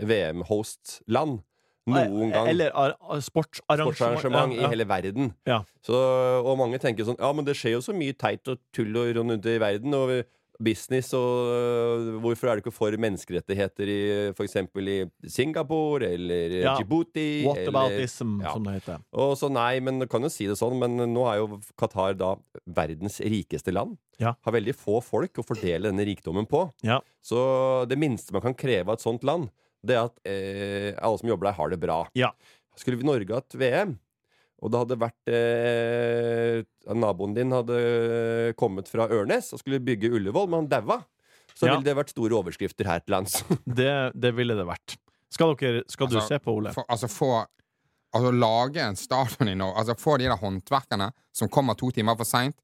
Speaker 5: VM-host-land noen gang.
Speaker 2: e-, Eller ar ar- sportsarrangement.
Speaker 5: Sportsarrangement
Speaker 2: Ja, ja.
Speaker 5: i hele verden.
Speaker 2: Ja.
Speaker 5: Så, og mange tenker sånn Ja, men det skjer jo så mye teit og tull og rundt i verden. Og business, og øh, hvorfor er det ikke for menneskerettigheter i f.eks. i Singapore eller
Speaker 2: Ja.
Speaker 5: Djibouti? eller,
Speaker 2: Whataboutism, Mm,
Speaker 5: Ja.
Speaker 2: som det heter.
Speaker 5: og så nei, men du kan jo si det sånn, men nå er jo Qatar da verdens rikeste land.
Speaker 2: Ja.
Speaker 5: Har veldig få folk å fordele denne rikdommen på.
Speaker 2: Ja.
Speaker 5: Så det minste man kan kreve av et sånt land, det er at eh, alle som jobber der, har det bra.
Speaker 2: Ja.
Speaker 5: Skulle vi Norge hatt VM, og det hadde vært eh, Naboen din hadde kommet fra Ørnes og skulle bygge Ullevål, men han daua, så
Speaker 2: Ja.
Speaker 5: ville det vært store overskrifter her til lands.
Speaker 2: Det, det ville det vært. Skal, dere, skal du
Speaker 4: Altså,
Speaker 2: se på, Ole?
Speaker 4: For, altså få Altså lage en stadion i Norge Altså få de der håndverkerne som kommer to timer for seint,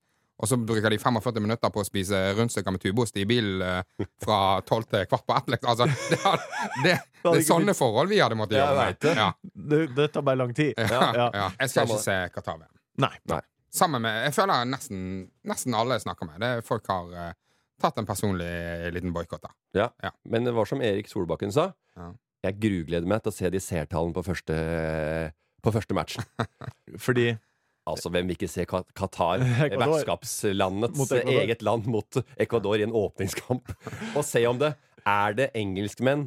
Speaker 4: og så bruker de 45 minutter på å spise rundstykker med tubost i bilen eh, fra tolv til kvart på ett. Liksom. Altså, det, har- det, det er sånne forhold vi hadde måttet
Speaker 5: Jeg
Speaker 4: gjøre.
Speaker 5: vet det.
Speaker 4: Ja,
Speaker 2: Det, det tar bare lang tid.
Speaker 4: ja,
Speaker 2: Ja.
Speaker 4: ja. Jeg skal ikke se Qatar-VM.
Speaker 2: Nei.
Speaker 4: Sammen med Jeg føler nesten, nesten alle jeg snakker med, det er folk har eh, tatt en personlig eh, liten boikott der.
Speaker 5: Men det var som Erik Solbakken sa.
Speaker 4: Ja.
Speaker 5: Jeg grugleder meg til å se de seertallene på første, på første matchen.
Speaker 2: Fordi
Speaker 5: Altså, hvem vil ikke se Kat- Qatar,
Speaker 2: Ecuador. Mot
Speaker 5: vertskapslandets
Speaker 2: Ecuador.
Speaker 5: eget land, mot Ecuador i en åpningskamp? Og se om det er det engelskmenn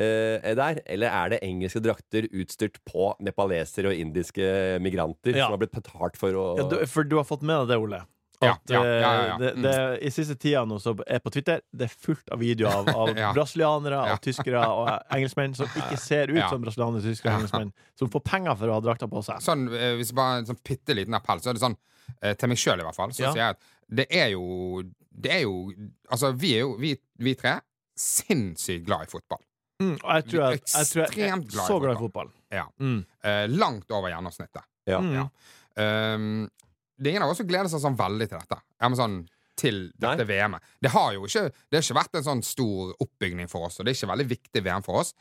Speaker 5: eh, er der, eller er det engelske drakter utstyrt på nepalesere og indiske migranter
Speaker 2: Ja.
Speaker 5: som har blitt betalt for å
Speaker 2: ja, du, For du har fått med deg det, Ole?
Speaker 4: Ja,
Speaker 2: At,
Speaker 4: ja, ja, ja, ja.
Speaker 2: eh, Det,
Speaker 4: Mm.
Speaker 2: det, I siste tida nå så er på Twitter Det er fullt av videoer av, av
Speaker 4: Ja.
Speaker 2: brasilianere
Speaker 4: Ja.
Speaker 2: og tyskere og engelskmenn som ikke ser ut
Speaker 4: Ja.
Speaker 2: som brasilianere, tyskere
Speaker 4: Ja.
Speaker 2: og engelskmenn, som får penger for å ha drakta på seg.
Speaker 4: sånn, eh, hvis jeg bare en sånn bitte liten appell, så er det sånn eh, til meg sjøl i hvert fall, så
Speaker 2: Ja.
Speaker 4: sier jeg at det er jo Det er jo Altså, vi er jo, vi, vi tre, sinnssykt glad i fotball.
Speaker 2: Mm, og jeg tror jeg, jeg, tror jeg er
Speaker 4: Ekstremt glad i
Speaker 2: så glad i fotball.
Speaker 4: Ja.
Speaker 2: Mm.
Speaker 4: Eh, langt over gjennomsnittet.
Speaker 5: Ja.
Speaker 2: Mm.
Speaker 4: Ja. Um, det er ingen av oss som gleder seg sånn veldig til dette. Ja, men sånn til dette VM-et. Det har jo ikke, det har ikke vært en sånn stor oppbygning for oss, og det er ikke veldig viktig VM for oss.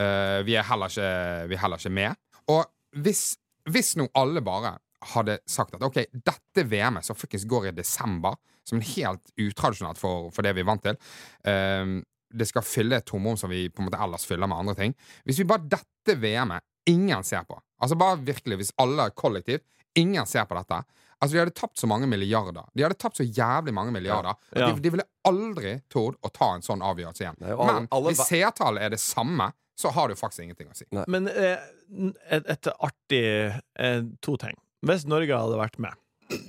Speaker 4: Eh, vi, er heller ikke, vi er heller ikke med. Og hvis, hvis nå alle bare hadde sagt at ok, dette VM-et som fuckings går i desember, som er helt utradisjonelt for, for det vi er vant til eh, Det skal fylle et tomrom som vi på en måte ellers fyller med andre ting. Hvis vi bare dette VM-et ingen ser på Altså bare virkelig, hvis alle kollektivt Ingen ser på dette Altså de hadde tapt så mange milliarder De hadde tapt så jævlig mange milliarder at
Speaker 2: Ja.
Speaker 4: De, de ville aldri tord å ta en sånn avgjørelse igjen
Speaker 5: Nei, og alle-
Speaker 4: Men
Speaker 5: alle-
Speaker 4: hvis seertallet er det samme Så har du faktisk ingenting å si
Speaker 2: Men eh, et, et artig eh, To ting. Hvis Norge hadde vært med,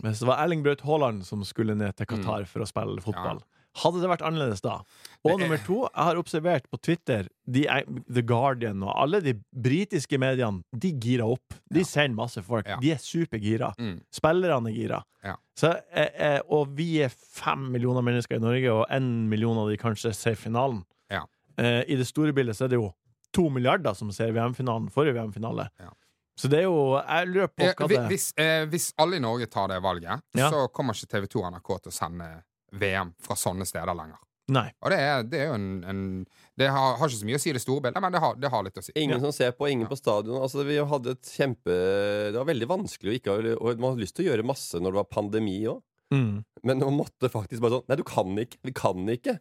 Speaker 2: hvis det var Erling Braut Haaland som skulle ned til Qatar
Speaker 4: Mm.
Speaker 2: for å spille fotball, hadde det vært annerledes da? Og
Speaker 4: Det er-
Speaker 2: nummer to, jeg har observert på Twitter de, er- The Guardian og alle de britiske mediene, de girer opp. De sender masse folk.
Speaker 4: Ja.
Speaker 2: De er supergira.
Speaker 4: Mm.
Speaker 2: Spillerne er gira.
Speaker 4: Ja.
Speaker 2: Så, eh, eh, og vi er fem millioner mennesker i Norge, og én million av de kanskje ser finalen.
Speaker 4: Ja.
Speaker 2: Eh, I det store bildet så er det jo to milliarder som ser VM-finalen, forrige VM-finale.
Speaker 4: Ja.
Speaker 2: Så det er jo Jeg lurer på
Speaker 4: Eh,
Speaker 2: hva
Speaker 4: hvi-
Speaker 2: det
Speaker 4: hvis, eh, hvis alle i Norge tar det valget
Speaker 2: Ja.
Speaker 4: Så kommer ikke TV 2 og NRK til å sende VM fra sånne steder lenger
Speaker 2: Nei.
Speaker 4: Og det er, det er jo en, en Det har, har ikke så mye å si i det store bildet Men det har, det har litt å si
Speaker 5: Ingen som ser på, ingen på stadion. Altså, vi hadde et kjempe Det var veldig vanskelig å ikke ha og Man hadde lyst til å gjøre masse når det var pandemi òg.
Speaker 2: Mm.
Speaker 5: Men man måtte faktisk bare sånn Nei, du kan ikke. Vi kan ikke.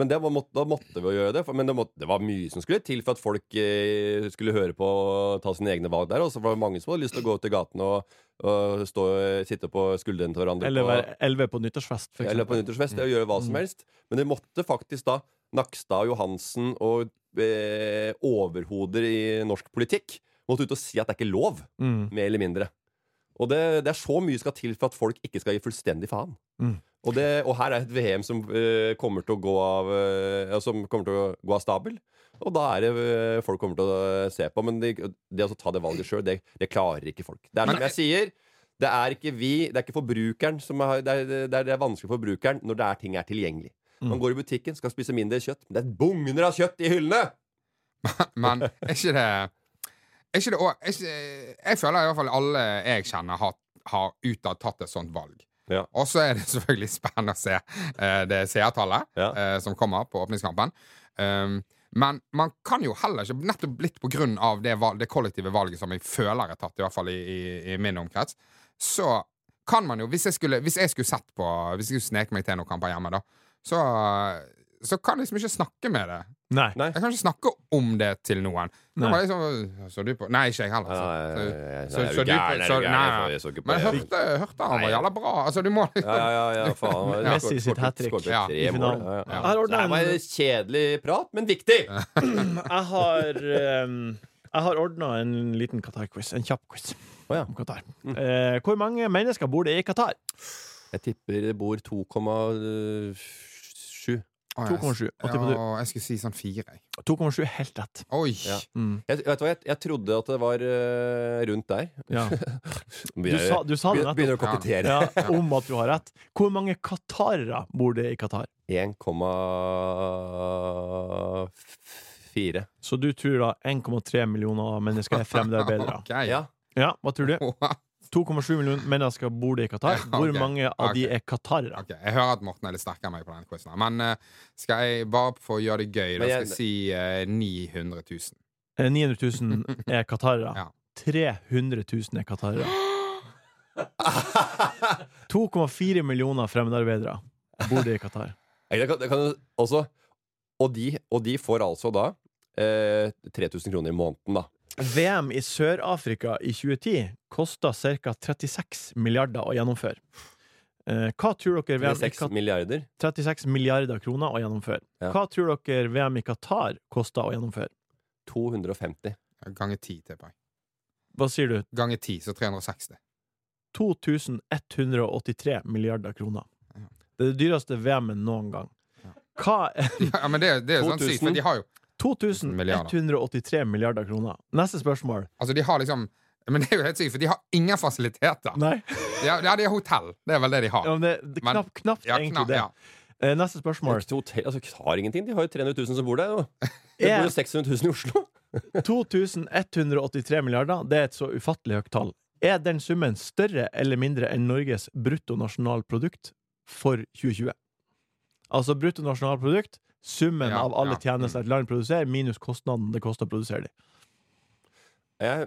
Speaker 5: Men det var, må- da måtte vi jo gjøre det. For, men det, måtte, det var mye som skulle til for at folk eh, skulle høre på og ta sine egne valg der. Og så var det mange som hadde lyst til å gå ut i gaten og, og stå, sitte på skuldrene til hverandre.
Speaker 2: Eller
Speaker 5: på,
Speaker 2: være elleve på nyttårsfest, for
Speaker 5: eller på
Speaker 2: eksempel.
Speaker 5: nyttårsfest. Og gjøre hva som
Speaker 2: Mm.
Speaker 5: helst. Men de måtte faktisk da Nakstad, Johansen og eh, overhoder i norsk politikk måtte ut og si at det er ikke lov.
Speaker 2: Mm.
Speaker 5: Mer eller mindre. Og det, det er så mye skal til for at folk ikke skal gi fullstendig faen.
Speaker 2: Mm.
Speaker 5: Og, det, og her er et VM som eh, kommer til å gå av eh, ja, Som kommer til å gå av stabel. Og da er det eh, folk kommer til å se på. Men det, det å ta det valget sjøl, det, det klarer ikke folk. Det er
Speaker 4: Men-
Speaker 5: som jeg sier. Det er ikke vi, det er ikke forbrukeren som har, det, er, det, er, det er vanskelig for forbrukeren når det er ting er tilgjengelig.
Speaker 4: Mm.
Speaker 5: Man går i butikken, skal spise mindre kjøtt. Men det bugner av kjøtt i hyllene!
Speaker 4: Men er ikke det er ikke det, og, er ikke, Jeg føler i hvert fall alle jeg kjenner, har, har utad tatt et sånt valg.
Speaker 5: Ja.
Speaker 4: Og så er det selvfølgelig spennende å se eh, det seertallet
Speaker 5: Ja.
Speaker 4: eh, som kommer på åpningskampen. Um, men man kan jo heller ikke, nettopp litt på grunn av det, valg, det kollektive valget som jeg føler er tatt, i hvert fall i, i, i min omkrets, så kan man jo Hvis jeg skulle, hvis jeg skulle sett på Hvis jeg skulle sneke meg til noen kamper hjemme, da, så, så kan jeg liksom ikke snakke med det
Speaker 2: Nei.
Speaker 5: Nei.
Speaker 4: Jeg kan ikke snakke om det til noen. Det
Speaker 2: Nei.
Speaker 4: var liksom, så du på Nei, ikke jeg heller. altså.
Speaker 5: Nei,
Speaker 4: Så,
Speaker 5: nei, nei, nei,
Speaker 4: så, så
Speaker 5: nei, er du
Speaker 4: du på
Speaker 5: gæren, er du
Speaker 4: så, nei, nei.
Speaker 5: gæren? Jeg får- jeg så ikke på
Speaker 4: Men jeg
Speaker 5: det.
Speaker 4: hørte, jeg hørte han var jævla bra. Altså, du må
Speaker 5: Ja, ja, ja, ja, faen. det var-
Speaker 2: Messi sitt
Speaker 5: skåret- skåret-
Speaker 2: hat-trick
Speaker 5: skåret
Speaker 4: Ja.
Speaker 5: tre
Speaker 2: i
Speaker 5: mål,
Speaker 2: finalen.
Speaker 5: ja, ja.
Speaker 2: Jeg har
Speaker 5: Så Det
Speaker 2: ordna
Speaker 5: her var
Speaker 2: en,
Speaker 5: en kjedelig prat, men viktig!
Speaker 2: jeg har, ehm, jeg har ordnet en liten Qatar-quiz. En kjapp quiz
Speaker 5: Å, ja.
Speaker 2: om
Speaker 5: Mm.
Speaker 2: Qatar. Eh, hvor mange mennesker bor det i Qatar?
Speaker 5: Jeg tipper det bor eh, 2,7.
Speaker 2: 2,7. Åtti på du.
Speaker 4: Ja, jeg skulle si sånn fire. jeg.
Speaker 2: 2,7 helt rett.
Speaker 4: Oi!
Speaker 5: Ja.
Speaker 2: Mm.
Speaker 5: Jeg, vet du hva, jeg, jeg trodde at det var eh, rundt der.
Speaker 2: Ja. Du,
Speaker 5: Begynner-
Speaker 2: sa, du sa det
Speaker 5: begynner,
Speaker 2: nettopp.
Speaker 5: begynner å kokettere.
Speaker 2: Ja, om at du har rett. Hvor mange qatarere bor det i Qatar?
Speaker 5: 1,4.
Speaker 2: Så du tror da 1,3 millioner mennesker er fremmedarbeidere?
Speaker 4: Ok.
Speaker 5: Ja.
Speaker 2: Ja, hva tror du?
Speaker 4: Wow.
Speaker 2: 2,7 millioner mennesker bor det i Qatar.
Speaker 4: Ja,
Speaker 2: Hvor
Speaker 4: ok.
Speaker 2: mange av de
Speaker 4: Ok.
Speaker 2: er qatarere?
Speaker 4: Ok, Jeg hører at Morten er litt sterkere enn meg på denne quizen. her. Men eh, skal jeg bare for å gjøre det gøy, da
Speaker 5: Men
Speaker 4: skal
Speaker 5: jeg-
Speaker 4: jeg si eh, 900 000.
Speaker 2: Eh, 900 000 er qatarere.
Speaker 4: Ja.
Speaker 2: 300 000 er qatarere. 2,4 millioner fremmedarbeidere bor det i Qatar.
Speaker 5: Jeg kan, jeg kan også, og, de, og de får altså da eh, 3000 kroner i måneden, da.
Speaker 2: VM i Sør-Afrika i 2010 kosta ca. 36 milliarder å gjennomføre. Eh, Hva tror dere
Speaker 5: Med
Speaker 2: VM i
Speaker 5: 6
Speaker 2: Qatar
Speaker 5: milliarder.
Speaker 2: 36 milliarder kroner å gjennomføre.
Speaker 5: Ja.
Speaker 2: Hva tror dere VM i Qatar kosta å gjennomføre?
Speaker 5: 250.
Speaker 4: Ganger 10, tipper jeg.
Speaker 2: Hva sier du?
Speaker 4: Ganger 10, så 360.
Speaker 2: 2183 milliarder kroner. Det er det dyreste VM-en noen gang. Hva er
Speaker 4: Ja, men det, det er jo sånn
Speaker 5: 2000.
Speaker 4: sykt, for de har jo
Speaker 2: 2183 milliarder kroner? Neste spørsmål.
Speaker 4: Altså, de har liksom Men det er jo helt sykt, for de har ingen fasiliteter.
Speaker 2: Nei,
Speaker 4: Ja, ja, de har hotell. Det er vel det de har.
Speaker 2: ja, men det, det
Speaker 4: Men-
Speaker 2: knapt, knapt
Speaker 4: Ja,
Speaker 2: egentlig
Speaker 4: knapp,
Speaker 2: det.
Speaker 4: ja.
Speaker 2: Eh, Neste
Speaker 5: Det er
Speaker 2: spørsmål.
Speaker 5: ikke hotell, altså, de har ingenting. De har jo 300 000 som bor der. jo. Det bor
Speaker 2: Er
Speaker 5: jo 600 000 i Oslo.
Speaker 2: 2183 milliarder det er et så ufattelig høyt tall? Er den summen større eller mindre enn Norges bruttonasjonalprodukt for 2020? Altså bruttonasjonalprodukt, summen
Speaker 4: Ja,
Speaker 2: av alle
Speaker 4: ja,
Speaker 2: tjenester et land produserer, minus kostnaden det koster å produsere dem.
Speaker 5: Jeg,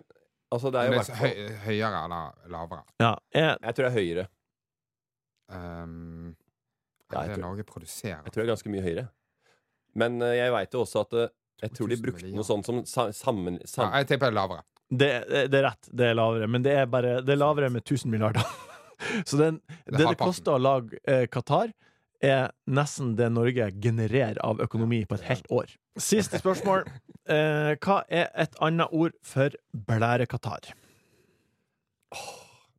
Speaker 5: altså, det er
Speaker 4: Men det er
Speaker 5: jo i hvert
Speaker 4: så
Speaker 5: fall
Speaker 4: høy, høyere eller lavere.
Speaker 2: Ja, er
Speaker 5: Jeg tror det er høyere.
Speaker 4: Um,
Speaker 5: Ja, jeg
Speaker 4: det
Speaker 5: tror-
Speaker 4: Norge produserer
Speaker 5: Jeg tror det er ganske mye høyere. Men eh, jeg veit jo også at eh, jeg tror de
Speaker 4: 2000
Speaker 5: brukte
Speaker 4: milliarder.
Speaker 5: noe sånt som sa- sammen...
Speaker 4: ja,
Speaker 5: sam-
Speaker 4: Jeg tipper det er lavere.
Speaker 2: Det, det er rett, det er lavere, men det er, bare, det er lavere med 1000 milliarder. Så den, det det
Speaker 4: halvparten.
Speaker 2: koster å lage eh, Qatar, er nesten det Norge genererer av økonomi på et helt år. Siste spørsmål. Eh, hva er et annet ord for blærekatar?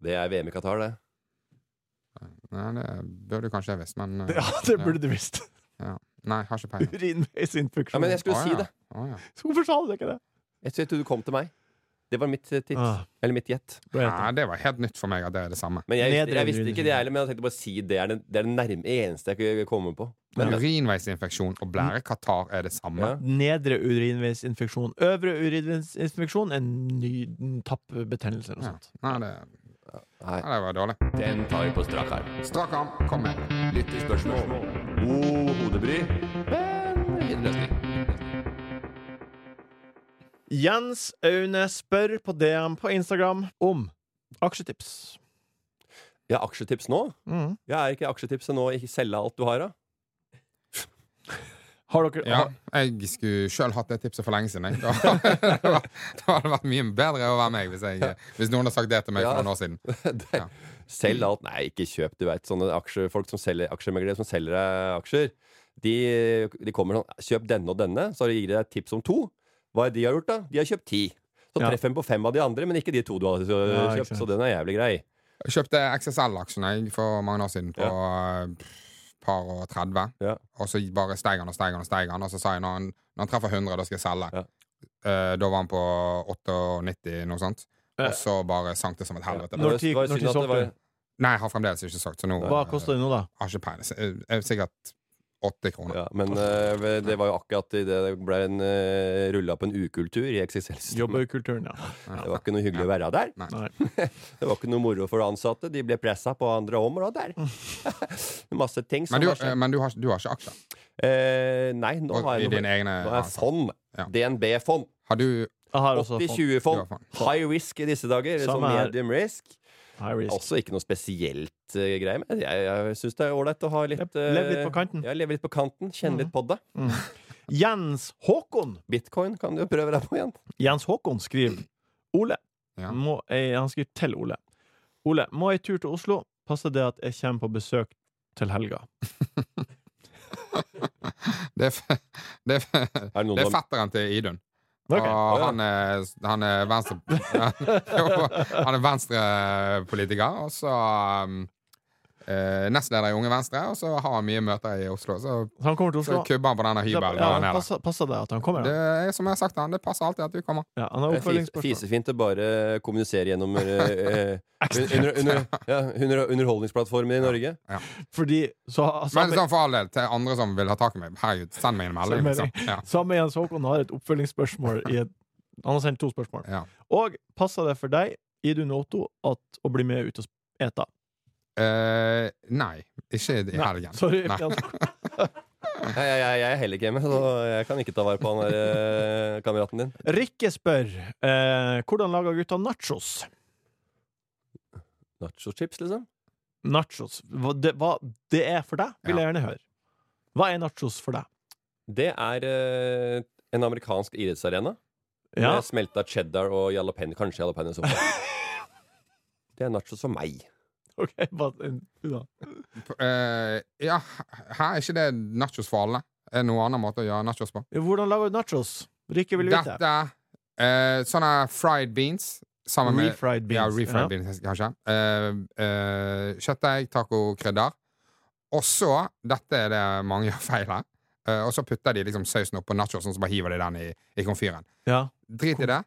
Speaker 5: det er VM i Qatar, det.
Speaker 4: Nei, det burde du kanskje ha visst, men uh,
Speaker 2: Ja, det burde du visst.
Speaker 4: ja. Nei, har ikke peiling.
Speaker 5: Ja,
Speaker 2: Urinveisinfeksjon.
Speaker 5: men jeg skulle
Speaker 4: Å,
Speaker 5: si
Speaker 4: ja.
Speaker 5: det.
Speaker 4: Å, ja.
Speaker 2: Hvorfor sa du ikke det?
Speaker 5: Jeg tror- jeg tror du kom til meg. Det var mitt eh, tips.
Speaker 2: Ah.
Speaker 5: Eller mitt gjett.
Speaker 2: Hva heter
Speaker 4: Nei, det var helt nytt for meg at det er det samme.
Speaker 5: Men jeg,
Speaker 2: Nedre
Speaker 5: jeg visste ikke det
Speaker 2: urinvei.
Speaker 5: heller, men jeg tenkte bare å si det er det, det er det nærme eneste jeg kunne komme på. Men, Mm.
Speaker 4: Urinveisinfeksjon og blærekatarr er det samme.
Speaker 5: ja.
Speaker 2: det? Nedre urinveisinfeksjon. Øvre urinveisinfeksjon er en ny en tappbetennelse eller noe
Speaker 4: Ja.
Speaker 2: sånt.
Speaker 4: Nei, det,
Speaker 5: Nei,
Speaker 4: nei, det var dårlig.
Speaker 5: den tar vi på strak arm.
Speaker 4: Strak arm, kom med.
Speaker 5: Lyttespørsmål. God hodebry. Men fin løsning.
Speaker 2: Jens Aune spør på DM på Instagram om aksjetips.
Speaker 5: Ja, aksjetips nå?
Speaker 2: Mm.
Speaker 5: Ja, er ikke aksjetipset nå ikke selge alt du har, da?
Speaker 2: Har dere
Speaker 4: Ja,
Speaker 2: har,
Speaker 4: jeg skulle sjøl hatt det tipset for lenge siden. Jeg. Da, da, hadde det vært mye bedre å være meg hvis, jeg, hvis noen hadde sagt det til meg
Speaker 5: Ja.
Speaker 4: for noen år siden.
Speaker 5: Det-
Speaker 4: Ja.
Speaker 5: Selg alt. Nei, ikke kjøp, du veit. Sånne aksjer, folk som selger aksjemeglere som selger deg aksjer, de, de kommer sånn Kjøp denne og denne, så gir de deg et tips om to. Hva er det de har gjort, da? De har kjøpt ti. Så
Speaker 2: Ja.
Speaker 5: treff en på fem av de andre, men ikke de to du har
Speaker 2: Ja,
Speaker 5: øh,
Speaker 2: ikke
Speaker 5: kjøpt.
Speaker 2: sant.
Speaker 5: Så den er jævlig grei.
Speaker 4: Jeg kjøpte XSL-aksjene jeg, for mange år siden på eh, par og 30.
Speaker 5: Ja.
Speaker 4: Og så bare steig han og steig han og steig han. Og så sa jeg når han, når han treffer 100, da skal jeg selge.
Speaker 5: Ja.
Speaker 4: Eh, da var han på 98, noe sånt. Og så bare sank det som et helvete.
Speaker 2: Når tid-
Speaker 5: Det var jo
Speaker 2: når
Speaker 5: synd
Speaker 2: tid
Speaker 5: at det
Speaker 2: solgte
Speaker 5: var-
Speaker 2: du?
Speaker 4: Nei, jeg har fremdeles ikke sagt, så nå
Speaker 2: Hva
Speaker 4: eh,
Speaker 2: koster det nå, da?
Speaker 4: har ikke peiling. Eh, eh, Sikkert 80 kroner.
Speaker 5: Ja, men øh, det var jo akkurat i det det ble en øh, rulla på en ukultur i XXL-systemet.
Speaker 2: Jobberkulturen, ja.
Speaker 5: Det var ikke noe hyggelig å være der.
Speaker 2: Nei.
Speaker 5: Det var ikke noe moro for ansatte. De ble pressa på andre områder. Masse ting som
Speaker 4: Men, du,
Speaker 5: var skjedd.
Speaker 4: eh, men du, har, du har ikke aksjer?
Speaker 5: Eh, nei, nå har
Speaker 4: I
Speaker 5: jeg
Speaker 4: dine
Speaker 5: noe
Speaker 4: egne
Speaker 5: Nå er jeg fond.
Speaker 4: Ja.
Speaker 5: DNB-fond.
Speaker 4: Har du
Speaker 2: Jeg har også fått
Speaker 4: Du har
Speaker 5: fond
Speaker 4: fond.
Speaker 5: High risk i disse dager. eller
Speaker 2: Samme
Speaker 5: sånn
Speaker 2: her.
Speaker 5: medium risk.
Speaker 2: high risk.
Speaker 5: Også ikke noe spesielt eh, greie, men jeg, jeg syns det er åleit å ha litt eh,
Speaker 2: Lev- lev litt på kanten. Mm.
Speaker 5: Ja, leve litt på kanten. Kjenne litt på det.
Speaker 2: Jens Håkon
Speaker 5: Bitcoin kan du jo prøve deg på igjen.
Speaker 2: Jens Håkon skriver Ole
Speaker 4: Ja.
Speaker 2: må ei, Han skriver til Ole Ole, må jeg tur til Oslo? Passer det at jeg kommer på besøk til helga?
Speaker 4: Det er, f- det er, f-
Speaker 5: Er det noen
Speaker 4: det er
Speaker 5: som-
Speaker 4: fetteren til Idun.
Speaker 2: Ok.
Speaker 4: Og
Speaker 5: ja.
Speaker 4: han er, han er venstre... han er venstrepolitiker, og så um, eh, nestleder i Unge Venstre, og så har han mye møter i Oslo. Så,
Speaker 2: Så han kommer til
Speaker 4: så
Speaker 2: Oslo
Speaker 4: kubber han på denne
Speaker 2: ja,
Speaker 4: hybelen.
Speaker 2: han
Speaker 4: han er der.
Speaker 2: passer, passer det at han kommer?
Speaker 4: Det
Speaker 2: da?
Speaker 4: er som jeg har sagt til han, det passer alltid at du kommer.
Speaker 2: Ja, han har
Speaker 5: Det er fis-
Speaker 2: oppfølgingsspørsmål
Speaker 5: Fisefint å bare kommunisere gjennom eh, eh, under, under, ja, under, underholdningsplattformer i Norge.
Speaker 2: Fordi så,
Speaker 4: Men
Speaker 2: samme,
Speaker 4: sånn for all del, til andre som vil ha tak i meg, herregud, send meg en melding.
Speaker 2: Send
Speaker 4: Liksom.
Speaker 2: melding.
Speaker 4: Ja.
Speaker 2: samme Jens Håkon har et oppfølgingsspørsmål i et, Han har sendt to spørsmål
Speaker 4: Ja.
Speaker 2: Og passer det for deg, Idun Otto At å bli med ut og sp- eta?
Speaker 4: Eh, nei, ikke i helgen.
Speaker 2: Sorry,
Speaker 4: Nei.
Speaker 2: Jens
Speaker 5: Jeg, jeg, jeg, jeg er heller ikke hjemme, så jeg kan ikke ta vare på han der eh, kameraten din.
Speaker 2: Rikke spør eh, Hvordan lager gutta nachos?
Speaker 5: Nachochips, liksom?
Speaker 2: Nachos hva det, hva det er for deg, vil jeg gjerne høre Hva er nachos for deg?
Speaker 5: Det er eh, en amerikansk idrettsarena.
Speaker 2: Ja,
Speaker 5: Med smelta cheddar og jalapeño. Kanskje jalapeño i så fall. Det er nachos for meg.
Speaker 2: ok bare, ja.
Speaker 4: Eh, ja, hæ, er ikke det nachos for alle? Er det noen annen måte å gjøre nachos på?
Speaker 2: Hvordan lager du nachos? Rikke vil vite
Speaker 4: Dette eh, Sånne fried beans sammen med
Speaker 2: Refried beans
Speaker 4: Ja, refried
Speaker 2: ja.
Speaker 4: beans, kanskje. Eh, eh, kjøttdeig, tacokrydder. Og så Dette er det mange gjør feil her. Eh, og så putter de liksom sausen oppå nachosen, og så bare hiver de den i, i komfyren.
Speaker 2: Ja,
Speaker 4: Drit i det.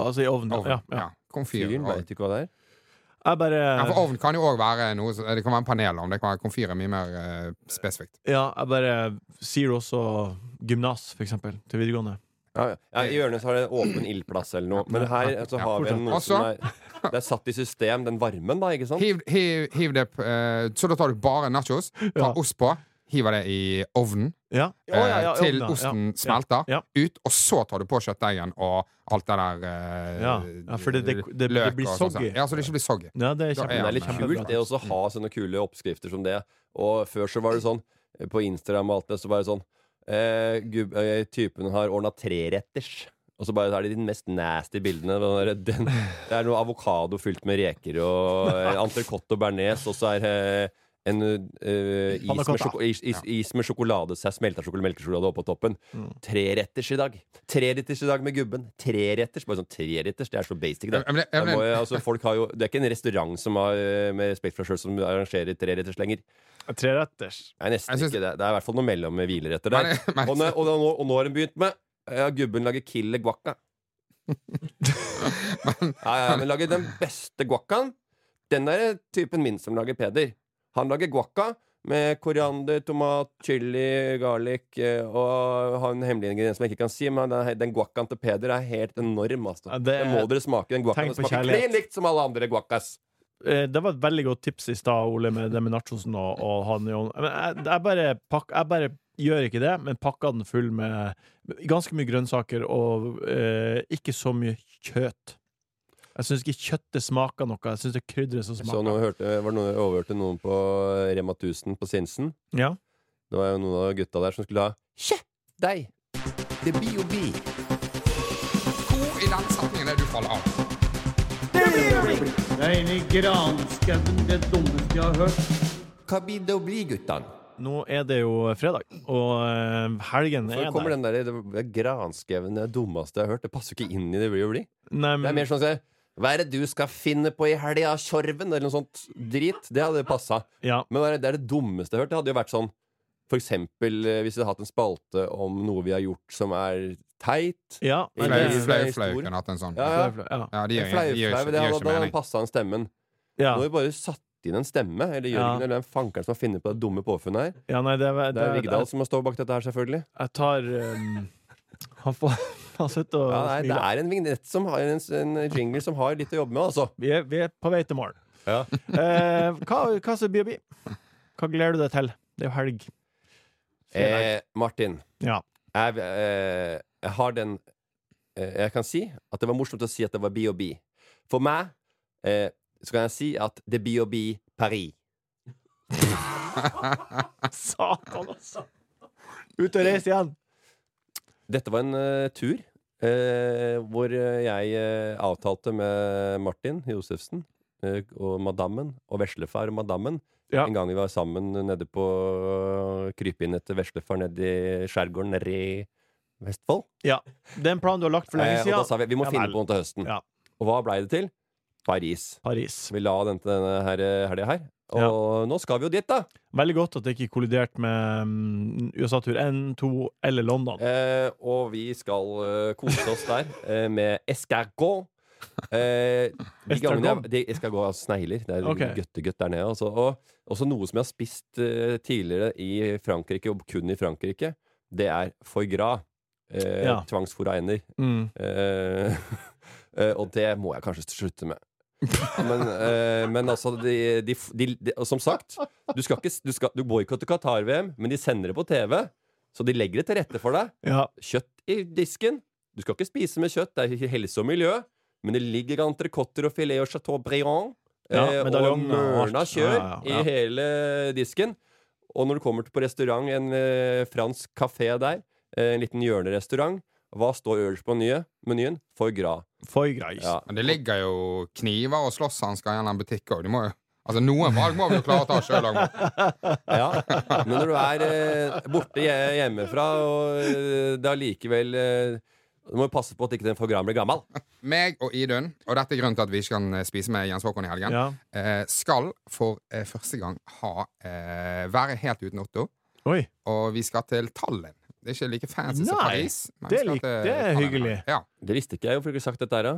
Speaker 2: altså i ovnen
Speaker 4: Ovn.
Speaker 2: ja, ja.
Speaker 4: Ja, komfyr.
Speaker 5: Fyren
Speaker 4: Ovn.
Speaker 5: veit ikke hva det er.
Speaker 2: Jeg bare
Speaker 4: Ja, for ovn kan jo òg være noe så- Det kan være en panelovn. Det kan være komfyr er mye mer eh, spesifikt.
Speaker 2: Ja, jeg bare sier også gymnas, for eksempel, til videregående.
Speaker 5: Ja, ja. ja, I hjørnet så har det en åpen ildplass eller noe. Men her så har vi en noe som
Speaker 4: Også-
Speaker 5: er Det er satt i system, den varmen, da, ikke sant?
Speaker 4: Hiv, hiv, hiv det eh, Så da tar du bare nachos, tar
Speaker 2: Ja.
Speaker 4: ost på, hiver det i ovnen
Speaker 2: Ja. Å,
Speaker 4: eh,
Speaker 2: ja, ja,
Speaker 4: til
Speaker 2: ovnen, ja.
Speaker 4: osten
Speaker 2: Ja.
Speaker 4: smelter
Speaker 2: Ja.
Speaker 4: ut, og så tar du på kjøttdeigen og alt det der eh,
Speaker 2: Ja. Ja, for det- det- det-
Speaker 4: løk
Speaker 2: det blir
Speaker 4: og sånn.
Speaker 2: soggy.
Speaker 4: Ja, så det ikke blir soggy.
Speaker 2: Ja, det er
Speaker 4: Da er
Speaker 5: Men
Speaker 2: kjempebra.
Speaker 5: det er litt
Speaker 4: Ja, men-
Speaker 5: kult det å også ha sånne kule oppskrifter som det. Og før så var det sånn eh, på Instagram og alt det, så var det sånn eh, gub, eh, Typen har ordna treretters. Og så bare er det de mest nasty bildene. Den der, den, det er noe avokado fylt med reker og eh, entrecôte og bearnés, og så er eh, en eh, is,
Speaker 2: Panna
Speaker 5: med
Speaker 2: cotta.
Speaker 5: sjoko- is, is, is med sjokolade, så er smelta sjokolade, melkesjokolade oppå toppen.
Speaker 2: Mm.
Speaker 5: Treretters i dag. Treretters i dag med gubben. Treretters. Bare sånn treretters. Det er så basic, det.
Speaker 4: Jeg- jeg- jeg-
Speaker 5: Da må jeg, altså, folk har jo, det er ikke en restaurant som har, eh, med respekt for seg selv som arrangerer treretters lenger.
Speaker 2: Treretters.
Speaker 5: Nei, nesten
Speaker 4: Jeg synes-
Speaker 5: ikke det. Det er i hvert fall noe mellom med hvileretter der.
Speaker 4: Men, men,
Speaker 5: og, nå, og, nå, og nå har de begynt med ja, gubben lager kille guacca. ja, ja, men lager den beste guaccaen. Den er typen min som lager Peder. Han lager guacca med koriander, tomat, chili, garlic eh, og har en hemmelig ingrediens som jeg ikke kan si, men den, den guaccaen til Peder er helt enorm. Altså.
Speaker 2: Ja, det-
Speaker 5: det, må dere smake. Den guaccaen
Speaker 2: Tenk på
Speaker 5: smaker
Speaker 2: kjærlighet.
Speaker 5: klin likt som alle andre guaccas.
Speaker 2: Eh, Det var et veldig godt tips i stad, Ole, med det med nachosen og, og han i ovnen. Men jeg, jeg, bare pakk- jeg bare gjør ikke det, men pakker den full med ganske mye grønnsaker og eh, ikke så mye kjøtt. Jeg syns ikke kjøttet smaker noe. Jeg syns det er krydderet som
Speaker 5: Så
Speaker 2: smaker.
Speaker 5: nå hørte, var det noen, overhørte noen på eh, Rema 1000 på Sinsen.
Speaker 2: Ja.
Speaker 5: Det var jo noen av gutta der som skulle ha Kje! Deg!
Speaker 3: Det blir jo vi.
Speaker 4: hvor i den setningen er det du faller av?
Speaker 7: Det er inni granskauen det dummeste jeg har hørt.
Speaker 5: Hva blir det å bli, guttan?
Speaker 2: Nå er det jo fredag, og eh, helgen
Speaker 5: Så
Speaker 2: er
Speaker 5: kommer
Speaker 2: der.
Speaker 5: den der, det granskauen det dummeste jeg har hørt. Det passer jo ikke inn i det blir å bli.
Speaker 2: Nei,
Speaker 5: Det er
Speaker 2: men,
Speaker 5: mer sånn at hva er det du skal finne på i helga, Tjorven? Eller noe sånt drit. Det hadde passa.
Speaker 2: ja.
Speaker 5: Men det er- det er det dummeste jeg har hørt. Det hadde jo vært sånn For eksempel eh, hvis vi hadde hatt en spalte om noe vi har gjort som er teit.
Speaker 2: ja, men det,
Speaker 5: Nei,
Speaker 4: Flau-
Speaker 5: det-
Speaker 4: Flau
Speaker 5: det er
Speaker 4: flau
Speaker 5: stor.
Speaker 4: kunne hatt en sånn.
Speaker 5: Ja, ja.
Speaker 2: ja.
Speaker 4: Ja, de gjør,
Speaker 5: Flau-
Speaker 4: de gjør, ikke-
Speaker 5: flau, det
Speaker 4: de gjør
Speaker 5: hadde-
Speaker 4: ikke
Speaker 5: Da hadde
Speaker 4: mening.
Speaker 5: passa han stemmen.
Speaker 2: ja.
Speaker 5: Nå har vi bare satt inn en stemme, eller
Speaker 2: Ja.
Speaker 5: Jørgen, eller den fankeren som har funnet på det dumme påfunnet her.
Speaker 2: ja nei, det, er-
Speaker 5: Det er
Speaker 2: det,
Speaker 5: Vigdal
Speaker 2: det,
Speaker 5: som må stå bak dette her, selvfølgelig.
Speaker 2: jeg tar eh, Han får Han sitter og
Speaker 5: Ja, nei, det
Speaker 2: smiler.
Speaker 5: er en vignett som har en, en jingle som har litt å jobbe med, altså.
Speaker 2: Vi er, vi er på vei til morgen.
Speaker 5: Ja.
Speaker 2: Eh, hva, hva som blir å bli? Hva gleder du deg til? Det er jo helg. Fredag.
Speaker 5: Eh, Martin,
Speaker 2: Ja.
Speaker 5: jeg, eh, jeg har den eh, Jeg kan si at det var morsomt å si at det var B&B. For meg eh, så kan jeg si at det er B&B Paris.
Speaker 2: Satan, altså! Ut og reise igjen.
Speaker 5: Dette var en eh, tur eh, hvor eh, jeg eh, avtalte med Martin Josefsen eh, og madammen og veslefar og madammen
Speaker 2: Ja.
Speaker 5: en gang vi var sammen nede på krype inn etter veslefar nede i skjærgården nede i Vestfold.
Speaker 2: Ja. Det er en plan du har lagt for
Speaker 5: Eh,
Speaker 2: lenge
Speaker 5: og da
Speaker 2: siden.
Speaker 5: sa vi vi må
Speaker 2: Ja
Speaker 5: finne
Speaker 2: vel.
Speaker 5: på noe til høsten.
Speaker 2: Ja.
Speaker 5: Og hva blei det til? Paris.
Speaker 2: Paris.
Speaker 5: Så vi la den til denne her, eh, helga her. Og nå skal vi jo dit, da!
Speaker 2: Veldig godt at det ikke kolliderte med mm, USA-tur 1, 2 eller London.
Speaker 5: Eh, og vi skal eh, kose oss der eh, med escargot. Eh, de
Speaker 2: Escargot?
Speaker 5: gangene jeg, de escargot altså snegler. Det er
Speaker 2: Ok.
Speaker 5: gøttegøtt der nede. Altså. Og også noe som jeg har spist eh, tidligere i Frankrike, og kun i Frankrike, det er foie gras. Eh,
Speaker 2: Ja.
Speaker 5: Tvangsfôra ender.
Speaker 2: Mm.
Speaker 5: Eh, eh, og det må jeg kanskje slutte med. Men, eh, men altså de, de, de, de, og Som sagt, du, skal ikke, du, skal, du boikotter Qatar-VM, men de sender det på TV. Så de legger det til rette for deg.
Speaker 2: Ja.
Speaker 5: Kjøtt i disken. Du skal ikke spise med kjøtt, det er ikke helse og miljø. Men det ligger entrecôter og filet og chateaubriand.
Speaker 2: Ja,
Speaker 5: eh, og
Speaker 2: medaljonger og alt.
Speaker 5: mørna kjør
Speaker 2: Ja, ja, ja.
Speaker 5: i hele disken. Og når du kommer til på restaurant, en eh, fransk kafé der, eh, en liten hjørnerestaurant, hva står øverst på nye, menyen? Foie gras.
Speaker 2: Foie gras.
Speaker 5: Ja.
Speaker 4: Men det ligger jo kniver og slåsshansker gjennom butikk òg. Altså, noen valg må vi jo klare å ta sjøl òg.
Speaker 5: Ja, men når du er eh, borte hje- hjemmefra, og eh, det er allikevel eh, Du må jo passe på at ikke den foie gras blir gammel.
Speaker 4: Meg og Idun, og dette er grunnen til at vi ikke kan eh, spise med Jens Håkon i helgen,
Speaker 2: Ja.
Speaker 4: eh, skal for eh, første gang ha eh, være helt uten Otto.
Speaker 2: Oi.
Speaker 4: Og vi skal til Tallinn. Det er ikke like fancy som
Speaker 2: Nei,
Speaker 4: Paris. men vi
Speaker 2: det
Speaker 4: skal
Speaker 2: lik-
Speaker 4: til
Speaker 2: det er
Speaker 4: Tallinn.
Speaker 2: hyggelig.
Speaker 4: Ja.
Speaker 5: Det visste ikke jeg, hvorfor ikke sagt dette her, da?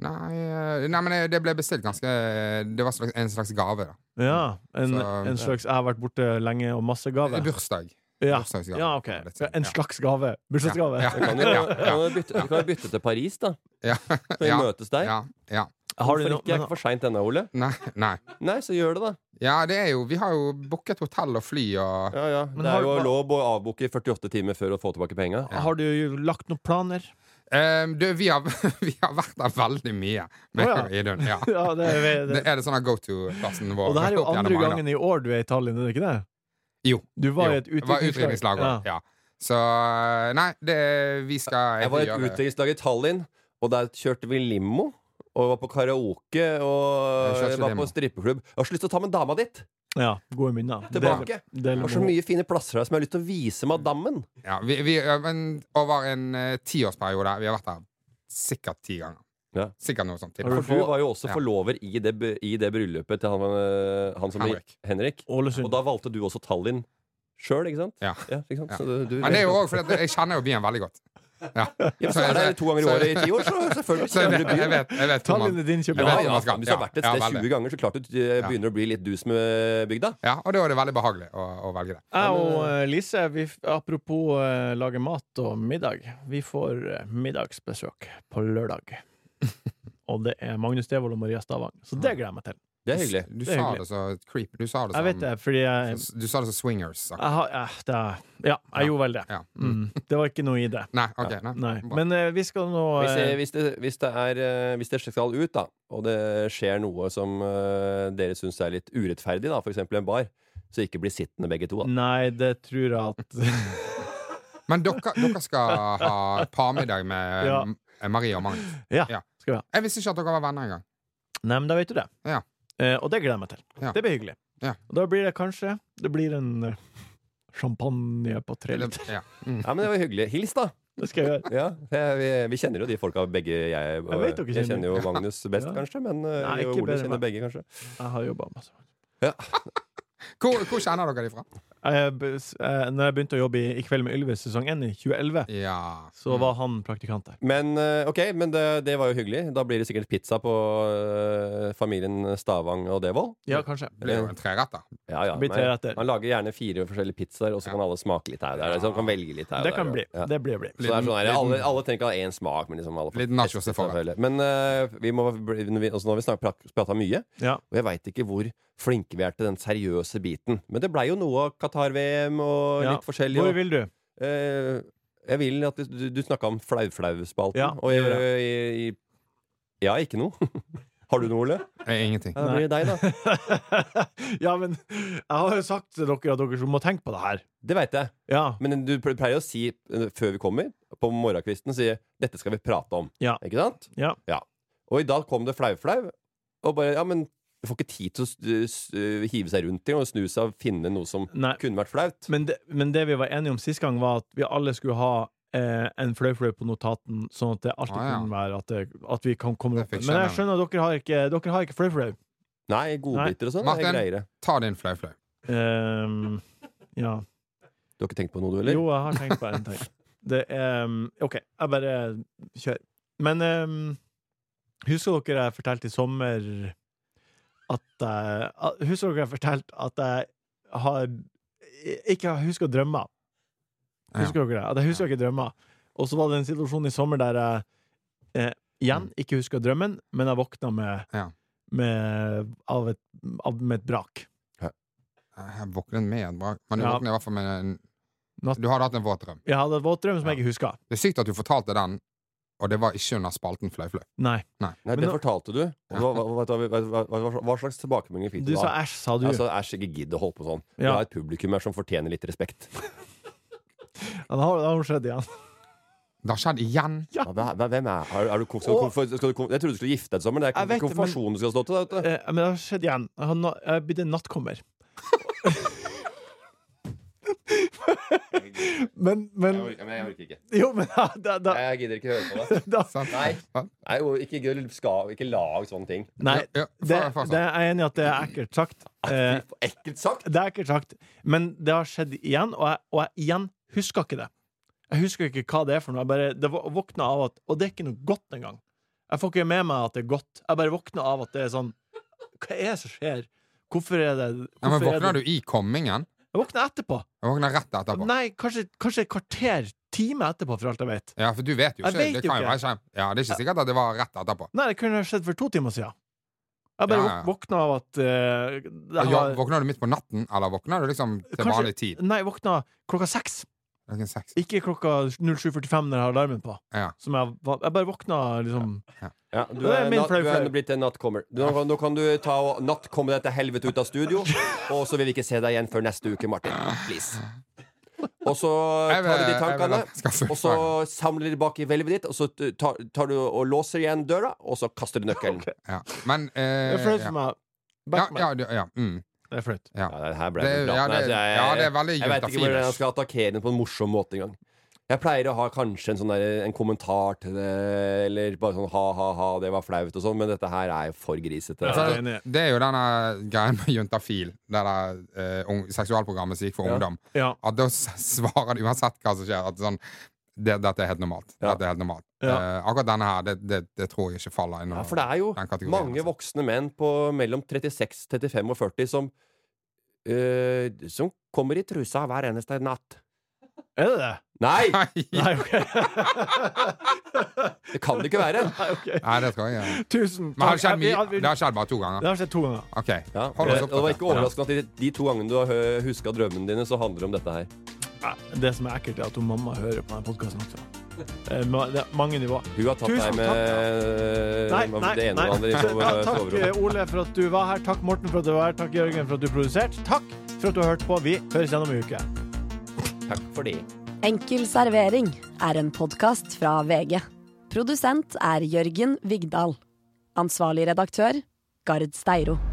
Speaker 4: Nei, eh, nei, men det- det ble bestilt ganske Det var slags- en slags gave, da.
Speaker 2: Ja. En,
Speaker 4: Så-
Speaker 2: en slags 'jeg har vært borte lenge' og masse gave.
Speaker 4: Eh, Bursdag.
Speaker 2: Ja.
Speaker 4: Bursdagsgave.
Speaker 2: ja, OK.
Speaker 4: Litt sånn,
Speaker 2: En
Speaker 4: ja.
Speaker 2: slags gave. Bursdagsgave.
Speaker 4: Ja,
Speaker 5: Vi kan jo
Speaker 4: ja, ja,
Speaker 5: kan jo bytte, vi kan jo bytte til Paris, da.
Speaker 4: ja,
Speaker 5: Når vi
Speaker 4: ja,
Speaker 5: møtes der.
Speaker 4: ja, ja.
Speaker 2: Har du
Speaker 5: Hvorfor
Speaker 2: noe-
Speaker 5: ikke? Jeg er ikke for seint ennå, Ole.
Speaker 4: Nei, nei.
Speaker 5: Nei, så gjør det, da.
Speaker 4: Ja, det er jo Vi har jo booket hotell og fly og
Speaker 5: Ja, ja.
Speaker 2: Men
Speaker 5: det
Speaker 2: har
Speaker 5: er jo
Speaker 2: du-
Speaker 5: lov å avbooke i 48 timer før å få tilbake penga.
Speaker 2: Har du lagt noen planer?
Speaker 4: Ehm, du, vi, har, vi har vært der veldig mye med
Speaker 2: Å, ja.
Speaker 4: Idun. Ja.
Speaker 2: Ja, det er, det,
Speaker 4: Det er det sånn at go to-plassen vår
Speaker 2: Og det her er jo
Speaker 4: opp gjennom
Speaker 2: andre
Speaker 4: mange, da.
Speaker 2: gangen i år du er i Tallinn, er det ikke det?
Speaker 4: Jo.
Speaker 2: Du var
Speaker 4: jo,
Speaker 2: i et
Speaker 4: det var
Speaker 2: utdrikningslag.
Speaker 4: utdrikningslag
Speaker 2: Ja.
Speaker 4: også, Ja. Så eh, nei, det, vi skal
Speaker 5: Jeg var i et
Speaker 4: gjøre-
Speaker 5: utdrikningslag i Tallinn, og der kjørte vi limo. Og var på karaoke og
Speaker 4: Jeg kjørte
Speaker 5: var
Speaker 4: limo.
Speaker 5: på strippeklubb. Jeg har så lyst til å ta med dama ditt
Speaker 2: ja. Gode minner. Del-
Speaker 5: tilbake. Det
Speaker 2: del-
Speaker 5: var så mye fine plasser her som jeg har lyst til å vise madammen.
Speaker 4: ja, vi, vi, men, Over en eh, tiårsperiode Vi har vært der sikkert ti ganger.
Speaker 5: Ja.
Speaker 4: Sikkert noe sånt.
Speaker 5: For du var jo også
Speaker 4: Ja.
Speaker 5: forlover i det, bu- i det bryllupet til han, øh, han som
Speaker 4: Henrik.
Speaker 5: blir Henrik.
Speaker 2: Ålesund.
Speaker 5: Og da valgte du også Tallinn sjøl, ikke sant?
Speaker 4: Ja.
Speaker 5: ikke sant?
Speaker 4: Ja.
Speaker 5: Så du, du,
Speaker 4: Men det er jo også fordi at jeg kjenner jo byen veldig godt. Ja.
Speaker 5: ja, så er det to ganger i året i ti år, så selvfølgelig
Speaker 4: Så jeg
Speaker 5: kjenner
Speaker 4: vet,
Speaker 5: du byen.
Speaker 4: jeg vet, jeg vet
Speaker 2: Tallinn er din
Speaker 5: Ja,
Speaker 2: København.
Speaker 5: ja,
Speaker 4: vet man skal.
Speaker 5: Hvis du har vært et
Speaker 4: Ja,
Speaker 5: sted
Speaker 4: ja, veldig.
Speaker 5: 20 ganger, så klart du eh, begynner å bli litt dus med eh, bygda.
Speaker 4: Ja, og da er det veldig behagelig å, å velge det.
Speaker 2: Jeg og eh, Lise, vi, f- apropos eh, lage mat og middag, vi får eh, middagsbesøk på lørdag. Og det er Magnus Devold og Maria Stavang, så det gleder jeg meg til.
Speaker 5: Det er hyggelig.
Speaker 4: Du
Speaker 2: Det er
Speaker 4: sa
Speaker 2: hyggelig.
Speaker 4: det så creepy. Du sa det
Speaker 2: Jeg vet det, fordi jeg,
Speaker 4: som- Du sa det så swingers. sa-
Speaker 2: jeg har eh, det, Ja, jeg gjorde vel det.
Speaker 4: Ja.
Speaker 2: Mm, det var ikke noe i det.
Speaker 4: Nei, OK. Nei.
Speaker 2: Nei.
Speaker 4: Bra.
Speaker 2: Men eh, vi skal nå
Speaker 5: Hvis det,
Speaker 2: eh,
Speaker 5: hvis, det, hvis, det er, eh, hvis det skal ut, da, og det skjer noe som eh, dere syns er litt urettferdig, da, f.eks. en bar, så ikke bli sittende begge to. Da.
Speaker 2: Nei, det tror jeg at
Speaker 4: Men dere, dere skal ha parmiddag med
Speaker 2: Ja.
Speaker 4: M- eh, Marie og Magnus.
Speaker 2: Ja,
Speaker 4: Ja.
Speaker 2: skal vi ha.
Speaker 4: Jeg visste ikke at dere var venner engang.
Speaker 2: Nei, men da vet du det.
Speaker 4: Ja.
Speaker 2: Eh, og det gleder jeg meg til.
Speaker 4: Ja.
Speaker 2: Det blir hyggelig.
Speaker 4: Ja.
Speaker 2: Og da blir det kanskje Det blir en eh, champagne på tre liter.
Speaker 4: Ja. Mm.
Speaker 5: Ja, men det var hyggelig. Hils, da!
Speaker 2: Det skal jeg gjøre.
Speaker 5: Ja, eh, vi, vi kjenner jo de folka begge. Jeg, og-
Speaker 2: vet dere
Speaker 5: jeg
Speaker 2: kjenner.
Speaker 5: kjenner jo Magnus best,
Speaker 2: Ja.
Speaker 5: kanskje, men eh,
Speaker 2: Nei,
Speaker 5: jeg og
Speaker 2: ikke
Speaker 5: Ole
Speaker 2: bedre enn
Speaker 5: kjenner begge, kanskje.
Speaker 2: Jeg har jobba masse.
Speaker 4: Hvor, hvor kjenner dere de fra?
Speaker 2: Jeg, be- s- eh, når jeg begynte å jobbe i I kveld med Ylvis sesong 1 i 2011,
Speaker 4: Ja.
Speaker 2: så var han praktikant der.
Speaker 5: Men eh, ok, men det, det var jo hyggelig. Da blir det sikkert pizza på eh, familien Stavang og Devold.
Speaker 2: Ja, kanskje.
Speaker 4: Mm. Det blir jo en treretter.
Speaker 5: Ja, ja,
Speaker 2: Det blir
Speaker 5: men
Speaker 2: tre retter.
Speaker 5: Man lager gjerne fire forskjellige pizzaer, og så kan alle smake litt her og der. Liksom, kan velge litt her og
Speaker 2: Det
Speaker 5: der,
Speaker 2: kan
Speaker 5: og-
Speaker 2: bli.
Speaker 5: ja.
Speaker 2: Det blir bli.
Speaker 5: Så det er sånn her, alle, alle tenker å ha én smak, men liksom alle får
Speaker 4: Litt
Speaker 5: teste
Speaker 4: nachos til forrett.
Speaker 5: selvfølgelig. Men eh, vi må, bli- når vi- altså, nå har vi snak, prak- prata mye,
Speaker 2: Ja.
Speaker 5: og jeg veit ikke hvor flinke vi er til den seriøse biten. Men det blei jo noe av Qatar-VM og
Speaker 2: Ja.
Speaker 5: litt forskjellig.
Speaker 2: Hvor
Speaker 5: og,
Speaker 2: vil du?
Speaker 5: eh, jeg vil at du, du snakka om flau-flau-spalten,
Speaker 2: Ja,
Speaker 5: og jeg,
Speaker 2: det gjør
Speaker 5: jeg, jeg, jeg har ikke noe. har du noe, Ole?
Speaker 4: Eh, Ingenting.
Speaker 5: Ja, det blir deg, da.
Speaker 2: ja, men jeg har jo sagt til dere at dere må tenke på det her.
Speaker 5: Det veit jeg.
Speaker 2: Ja.
Speaker 5: Men du pleier å si eh, før vi kommer på morgenkvisten sier 'dette skal vi prate om'.
Speaker 2: Ja.
Speaker 5: Ikke sant?
Speaker 2: Ja.
Speaker 5: Og i dag kom det flau-flau. Og bare Ja, men du får ikke tid til å s- s- hive seg rundt i og snu seg og finne noe som
Speaker 2: Nei.
Speaker 5: kunne vært flaut.
Speaker 2: Men det, men det vi var enige om sist gang, var at vi alle skulle ha eh, en fløyfløy på notaten, sånn at det alltid
Speaker 4: Ah, ja.
Speaker 2: kunne være at, det, at vi kan komme
Speaker 4: Det
Speaker 2: opp
Speaker 4: fikk
Speaker 2: med Men jeg
Speaker 4: skjønne.
Speaker 2: skjønner at dere har ikke, dere har ikke fløyfløy.
Speaker 5: Nei, godbiter og sånn er
Speaker 4: Martin.
Speaker 5: greiere.
Speaker 4: Ta din flau-flau.
Speaker 2: Ehm, ja.
Speaker 5: Du har ikke tenkt på noe, du heller?
Speaker 2: Jo, jeg har tenkt på en ting. Det er um, OK, jeg bare kjører. Men ehm, husker dere jeg fortalte i sommer at jeg at- Husker dere jeg fortalte at jeg har ikke husker drømmer? Husker dere det? At jeg husker ikke drømmer. Og så var det en situasjon i sommer der jeg eh, igjen ikke husker drømmen, men jeg våkna med,
Speaker 4: Ja.
Speaker 2: med, av et, av, med et brak.
Speaker 4: Eh, Jeg våknet med et brak, men du
Speaker 2: Ja.
Speaker 4: våknet i hvert fall med en
Speaker 2: Natt-
Speaker 4: Du hadde hatt en våt drøm.
Speaker 2: Jeg hadde et våtdrøm som jeg
Speaker 4: Ja.
Speaker 2: ikke husker.
Speaker 4: Det er sykt at du fortalte den, og det var ikke under spalten flau-flau.
Speaker 2: Nei.
Speaker 5: Nei,
Speaker 2: Men
Speaker 5: det
Speaker 2: nå-
Speaker 5: fortalte du. Og hva, hva, hva, hva, hva, hva, hva slags tilbakemeldinger fikk
Speaker 2: Du
Speaker 5: du
Speaker 2: sa
Speaker 5: da?
Speaker 2: æsj, sa du.
Speaker 5: Altså, Æsj, ikke gidd å holde på sånn. Vi
Speaker 2: Ja.
Speaker 5: har et publikum her som fortjener litt respekt.
Speaker 2: Ja, det har, det har skjedd igjen.
Speaker 4: Det har skjedd igjen.
Speaker 5: Ja, hva- hva- hvem er, er, er du, konf- skal du,
Speaker 2: Og-
Speaker 5: konf- skal du, konf- Jeg trodde du skulle gifte deg til sommeren. Det
Speaker 2: Jeg
Speaker 5: er
Speaker 2: vet
Speaker 5: ikke
Speaker 2: det, men-
Speaker 5: konfirmasjonen du skal stå til. da, Vet du.
Speaker 2: Eh, men det har skjedd igjen. Jeg har na- Jeg har blitt en nattkommer. men, men
Speaker 5: orker ikke.
Speaker 2: Jo, men da, da, da,
Speaker 5: Jeg gidder ikke høre på det.
Speaker 2: da
Speaker 4: Sant?
Speaker 5: Nei.
Speaker 4: Ja.
Speaker 5: Nei, og ikke, skal, ikke lag sånne ting.
Speaker 2: Nei, det,
Speaker 4: Ja, ja,
Speaker 2: det
Speaker 4: fa- fa-
Speaker 2: er jeg enig i at det er ekkelt sagt.
Speaker 4: Ah,
Speaker 2: Eh,
Speaker 5: Ekkelt sagt!
Speaker 2: det er ekkelt sagt, men det har skjedd igjen, og jeg, og jeg igjen husker ikke det. Jeg husker ikke hva det er for noe. Jeg bare det vå- våkna av at Og det er ikke noe godt engang. Jeg får ikke med meg at det er godt. Jeg bare våkna av at det er sånn Hva er det som skjer? Hvorfor er det
Speaker 4: Ja, men
Speaker 2: hvorfor er
Speaker 4: våkna
Speaker 2: det-
Speaker 4: du i kommingen?
Speaker 2: Jeg våkna etterpå.
Speaker 4: Jeg våkna rett etterpå.
Speaker 2: Nei, kanskje, kanskje et kvarter, time etterpå, for alt jeg vet.
Speaker 4: Ja, for du vet jo
Speaker 2: Jeg
Speaker 4: ikke.
Speaker 2: vet jo
Speaker 4: det, kan jo
Speaker 2: ikke.
Speaker 4: være skjem. Ja, det er ikke sikkert at det var rett etterpå.
Speaker 2: Nei, det kunne ha skjedd for to timer siden. Jeg bare
Speaker 4: Ja, ja.
Speaker 2: våk- våkna av at eh, det
Speaker 4: Ja,
Speaker 2: var-
Speaker 4: våkna du midt på natten, eller våkna du liksom til
Speaker 2: Kanskje-
Speaker 4: vanlig tid?
Speaker 2: Nei, jeg våkna klokka seks.
Speaker 4: Klokken seks.
Speaker 2: Ikke klokka 07.45 når jeg har alarmen på.
Speaker 4: Ja.
Speaker 2: Som jeg, va- jeg bare våkna liksom
Speaker 5: Ja, du,
Speaker 2: Det er
Speaker 5: er
Speaker 2: min
Speaker 5: nat-
Speaker 2: flau,
Speaker 5: du er
Speaker 2: flau.
Speaker 5: blitt en nattkommer. Du, nå, kan- nå kan du ta og nattkomme deg til helvete ut av studio, og så vil vi ikke se deg igjen før neste uke, Martin. Please. Og så
Speaker 4: Jeg vil-
Speaker 5: tar du de
Speaker 4: jeg vil
Speaker 5: tankene,
Speaker 4: at jeg skal følge
Speaker 5: og så samler de tilbake i hvelvet ditt, og så t- tar, tar du og låser igjen døra, og så kaster du nøkkelen.
Speaker 4: Ja. Men eh,
Speaker 2: Det er flaut
Speaker 4: ja.
Speaker 2: for meg.
Speaker 4: Ja,
Speaker 2: Back meg.
Speaker 4: ja, du- ja, mm.
Speaker 2: Det er flaut.
Speaker 4: ja.
Speaker 5: Ja, det her ble
Speaker 4: Det,
Speaker 5: det, bra.
Speaker 4: ja, det,
Speaker 5: Nei, jeg-
Speaker 4: ja, det er veldig
Speaker 5: Jeg veit ikke hvordan jeg
Speaker 4: juntafilers.
Speaker 5: skal attakkere den på en morsom måte engang. Jeg pleier å ha kanskje en sånn der, en kommentar til det, eller bare sånn ha-ha-ha, det var flaut og sånn, men dette her er jo for grisete.
Speaker 2: Ja, jeg
Speaker 5: Altså,
Speaker 2: er enig.
Speaker 4: Det er jo denne greien med juntafil, det der eh, ung- seksualprogrammet som gikk for
Speaker 5: Ja.
Speaker 4: ungdom.
Speaker 2: Ja.
Speaker 4: At da s- svarer de uansett hva som skjer, at sånn det, Dette er helt normalt.
Speaker 5: Ja.
Speaker 4: Dette er helt normalt.
Speaker 2: Ja.
Speaker 4: Eh, akkurat denne her, det, det, det tror jeg ikke faller inn
Speaker 5: Ja, for det er jo
Speaker 4: den kategorien.
Speaker 5: mange
Speaker 4: altså.
Speaker 5: voksne menn på mellom 36, 35 og 40 som eh, Som kommer i trusa hver eneste natt.
Speaker 2: Er det det?
Speaker 5: Nei!
Speaker 4: Nei.
Speaker 2: Nei, OK.
Speaker 5: Det kan det ikke være.
Speaker 2: Nei, ok.
Speaker 4: Nei, det tror jeg ikke.
Speaker 2: Tusen
Speaker 4: Men har
Speaker 2: takk.
Speaker 4: det skjedd
Speaker 2: Jeg-
Speaker 4: mye?
Speaker 2: jeg- jeg-
Speaker 4: Det har skjedd bare to
Speaker 2: Det
Speaker 4: ganger.
Speaker 2: har skjedd to ganger.
Speaker 4: OK.
Speaker 5: Ja, og
Speaker 4: Hold oss
Speaker 5: det og det var
Speaker 4: oppdatert.
Speaker 5: ikke overraskende at de, de to gangene du har huska drømmene dine, så handler det om dette her.
Speaker 2: Nei, Det som er ekkelt, er at hun mamma hører på denne podkasten også. Eh, ma- Det er mange nivåer.
Speaker 5: Hun har tatt
Speaker 2: Tusen
Speaker 5: deg med
Speaker 2: Nei,
Speaker 5: eh,
Speaker 2: nei,
Speaker 5: det ene og det
Speaker 2: nei.
Speaker 5: andre i
Speaker 2: Ja, Takk
Speaker 5: soverommet.
Speaker 2: eh, Ole for at du var her. Takk Morten for at du var her. Takk Jørgen for at du produserte. Takk for at du har hørt på. Vi høres igjen om en uke.
Speaker 5: Takk for det.
Speaker 1: Enkel servering er en podkast fra VG. Produsent er Jørgen Vigdal. Ansvarlig redaktør, Gard Steiro.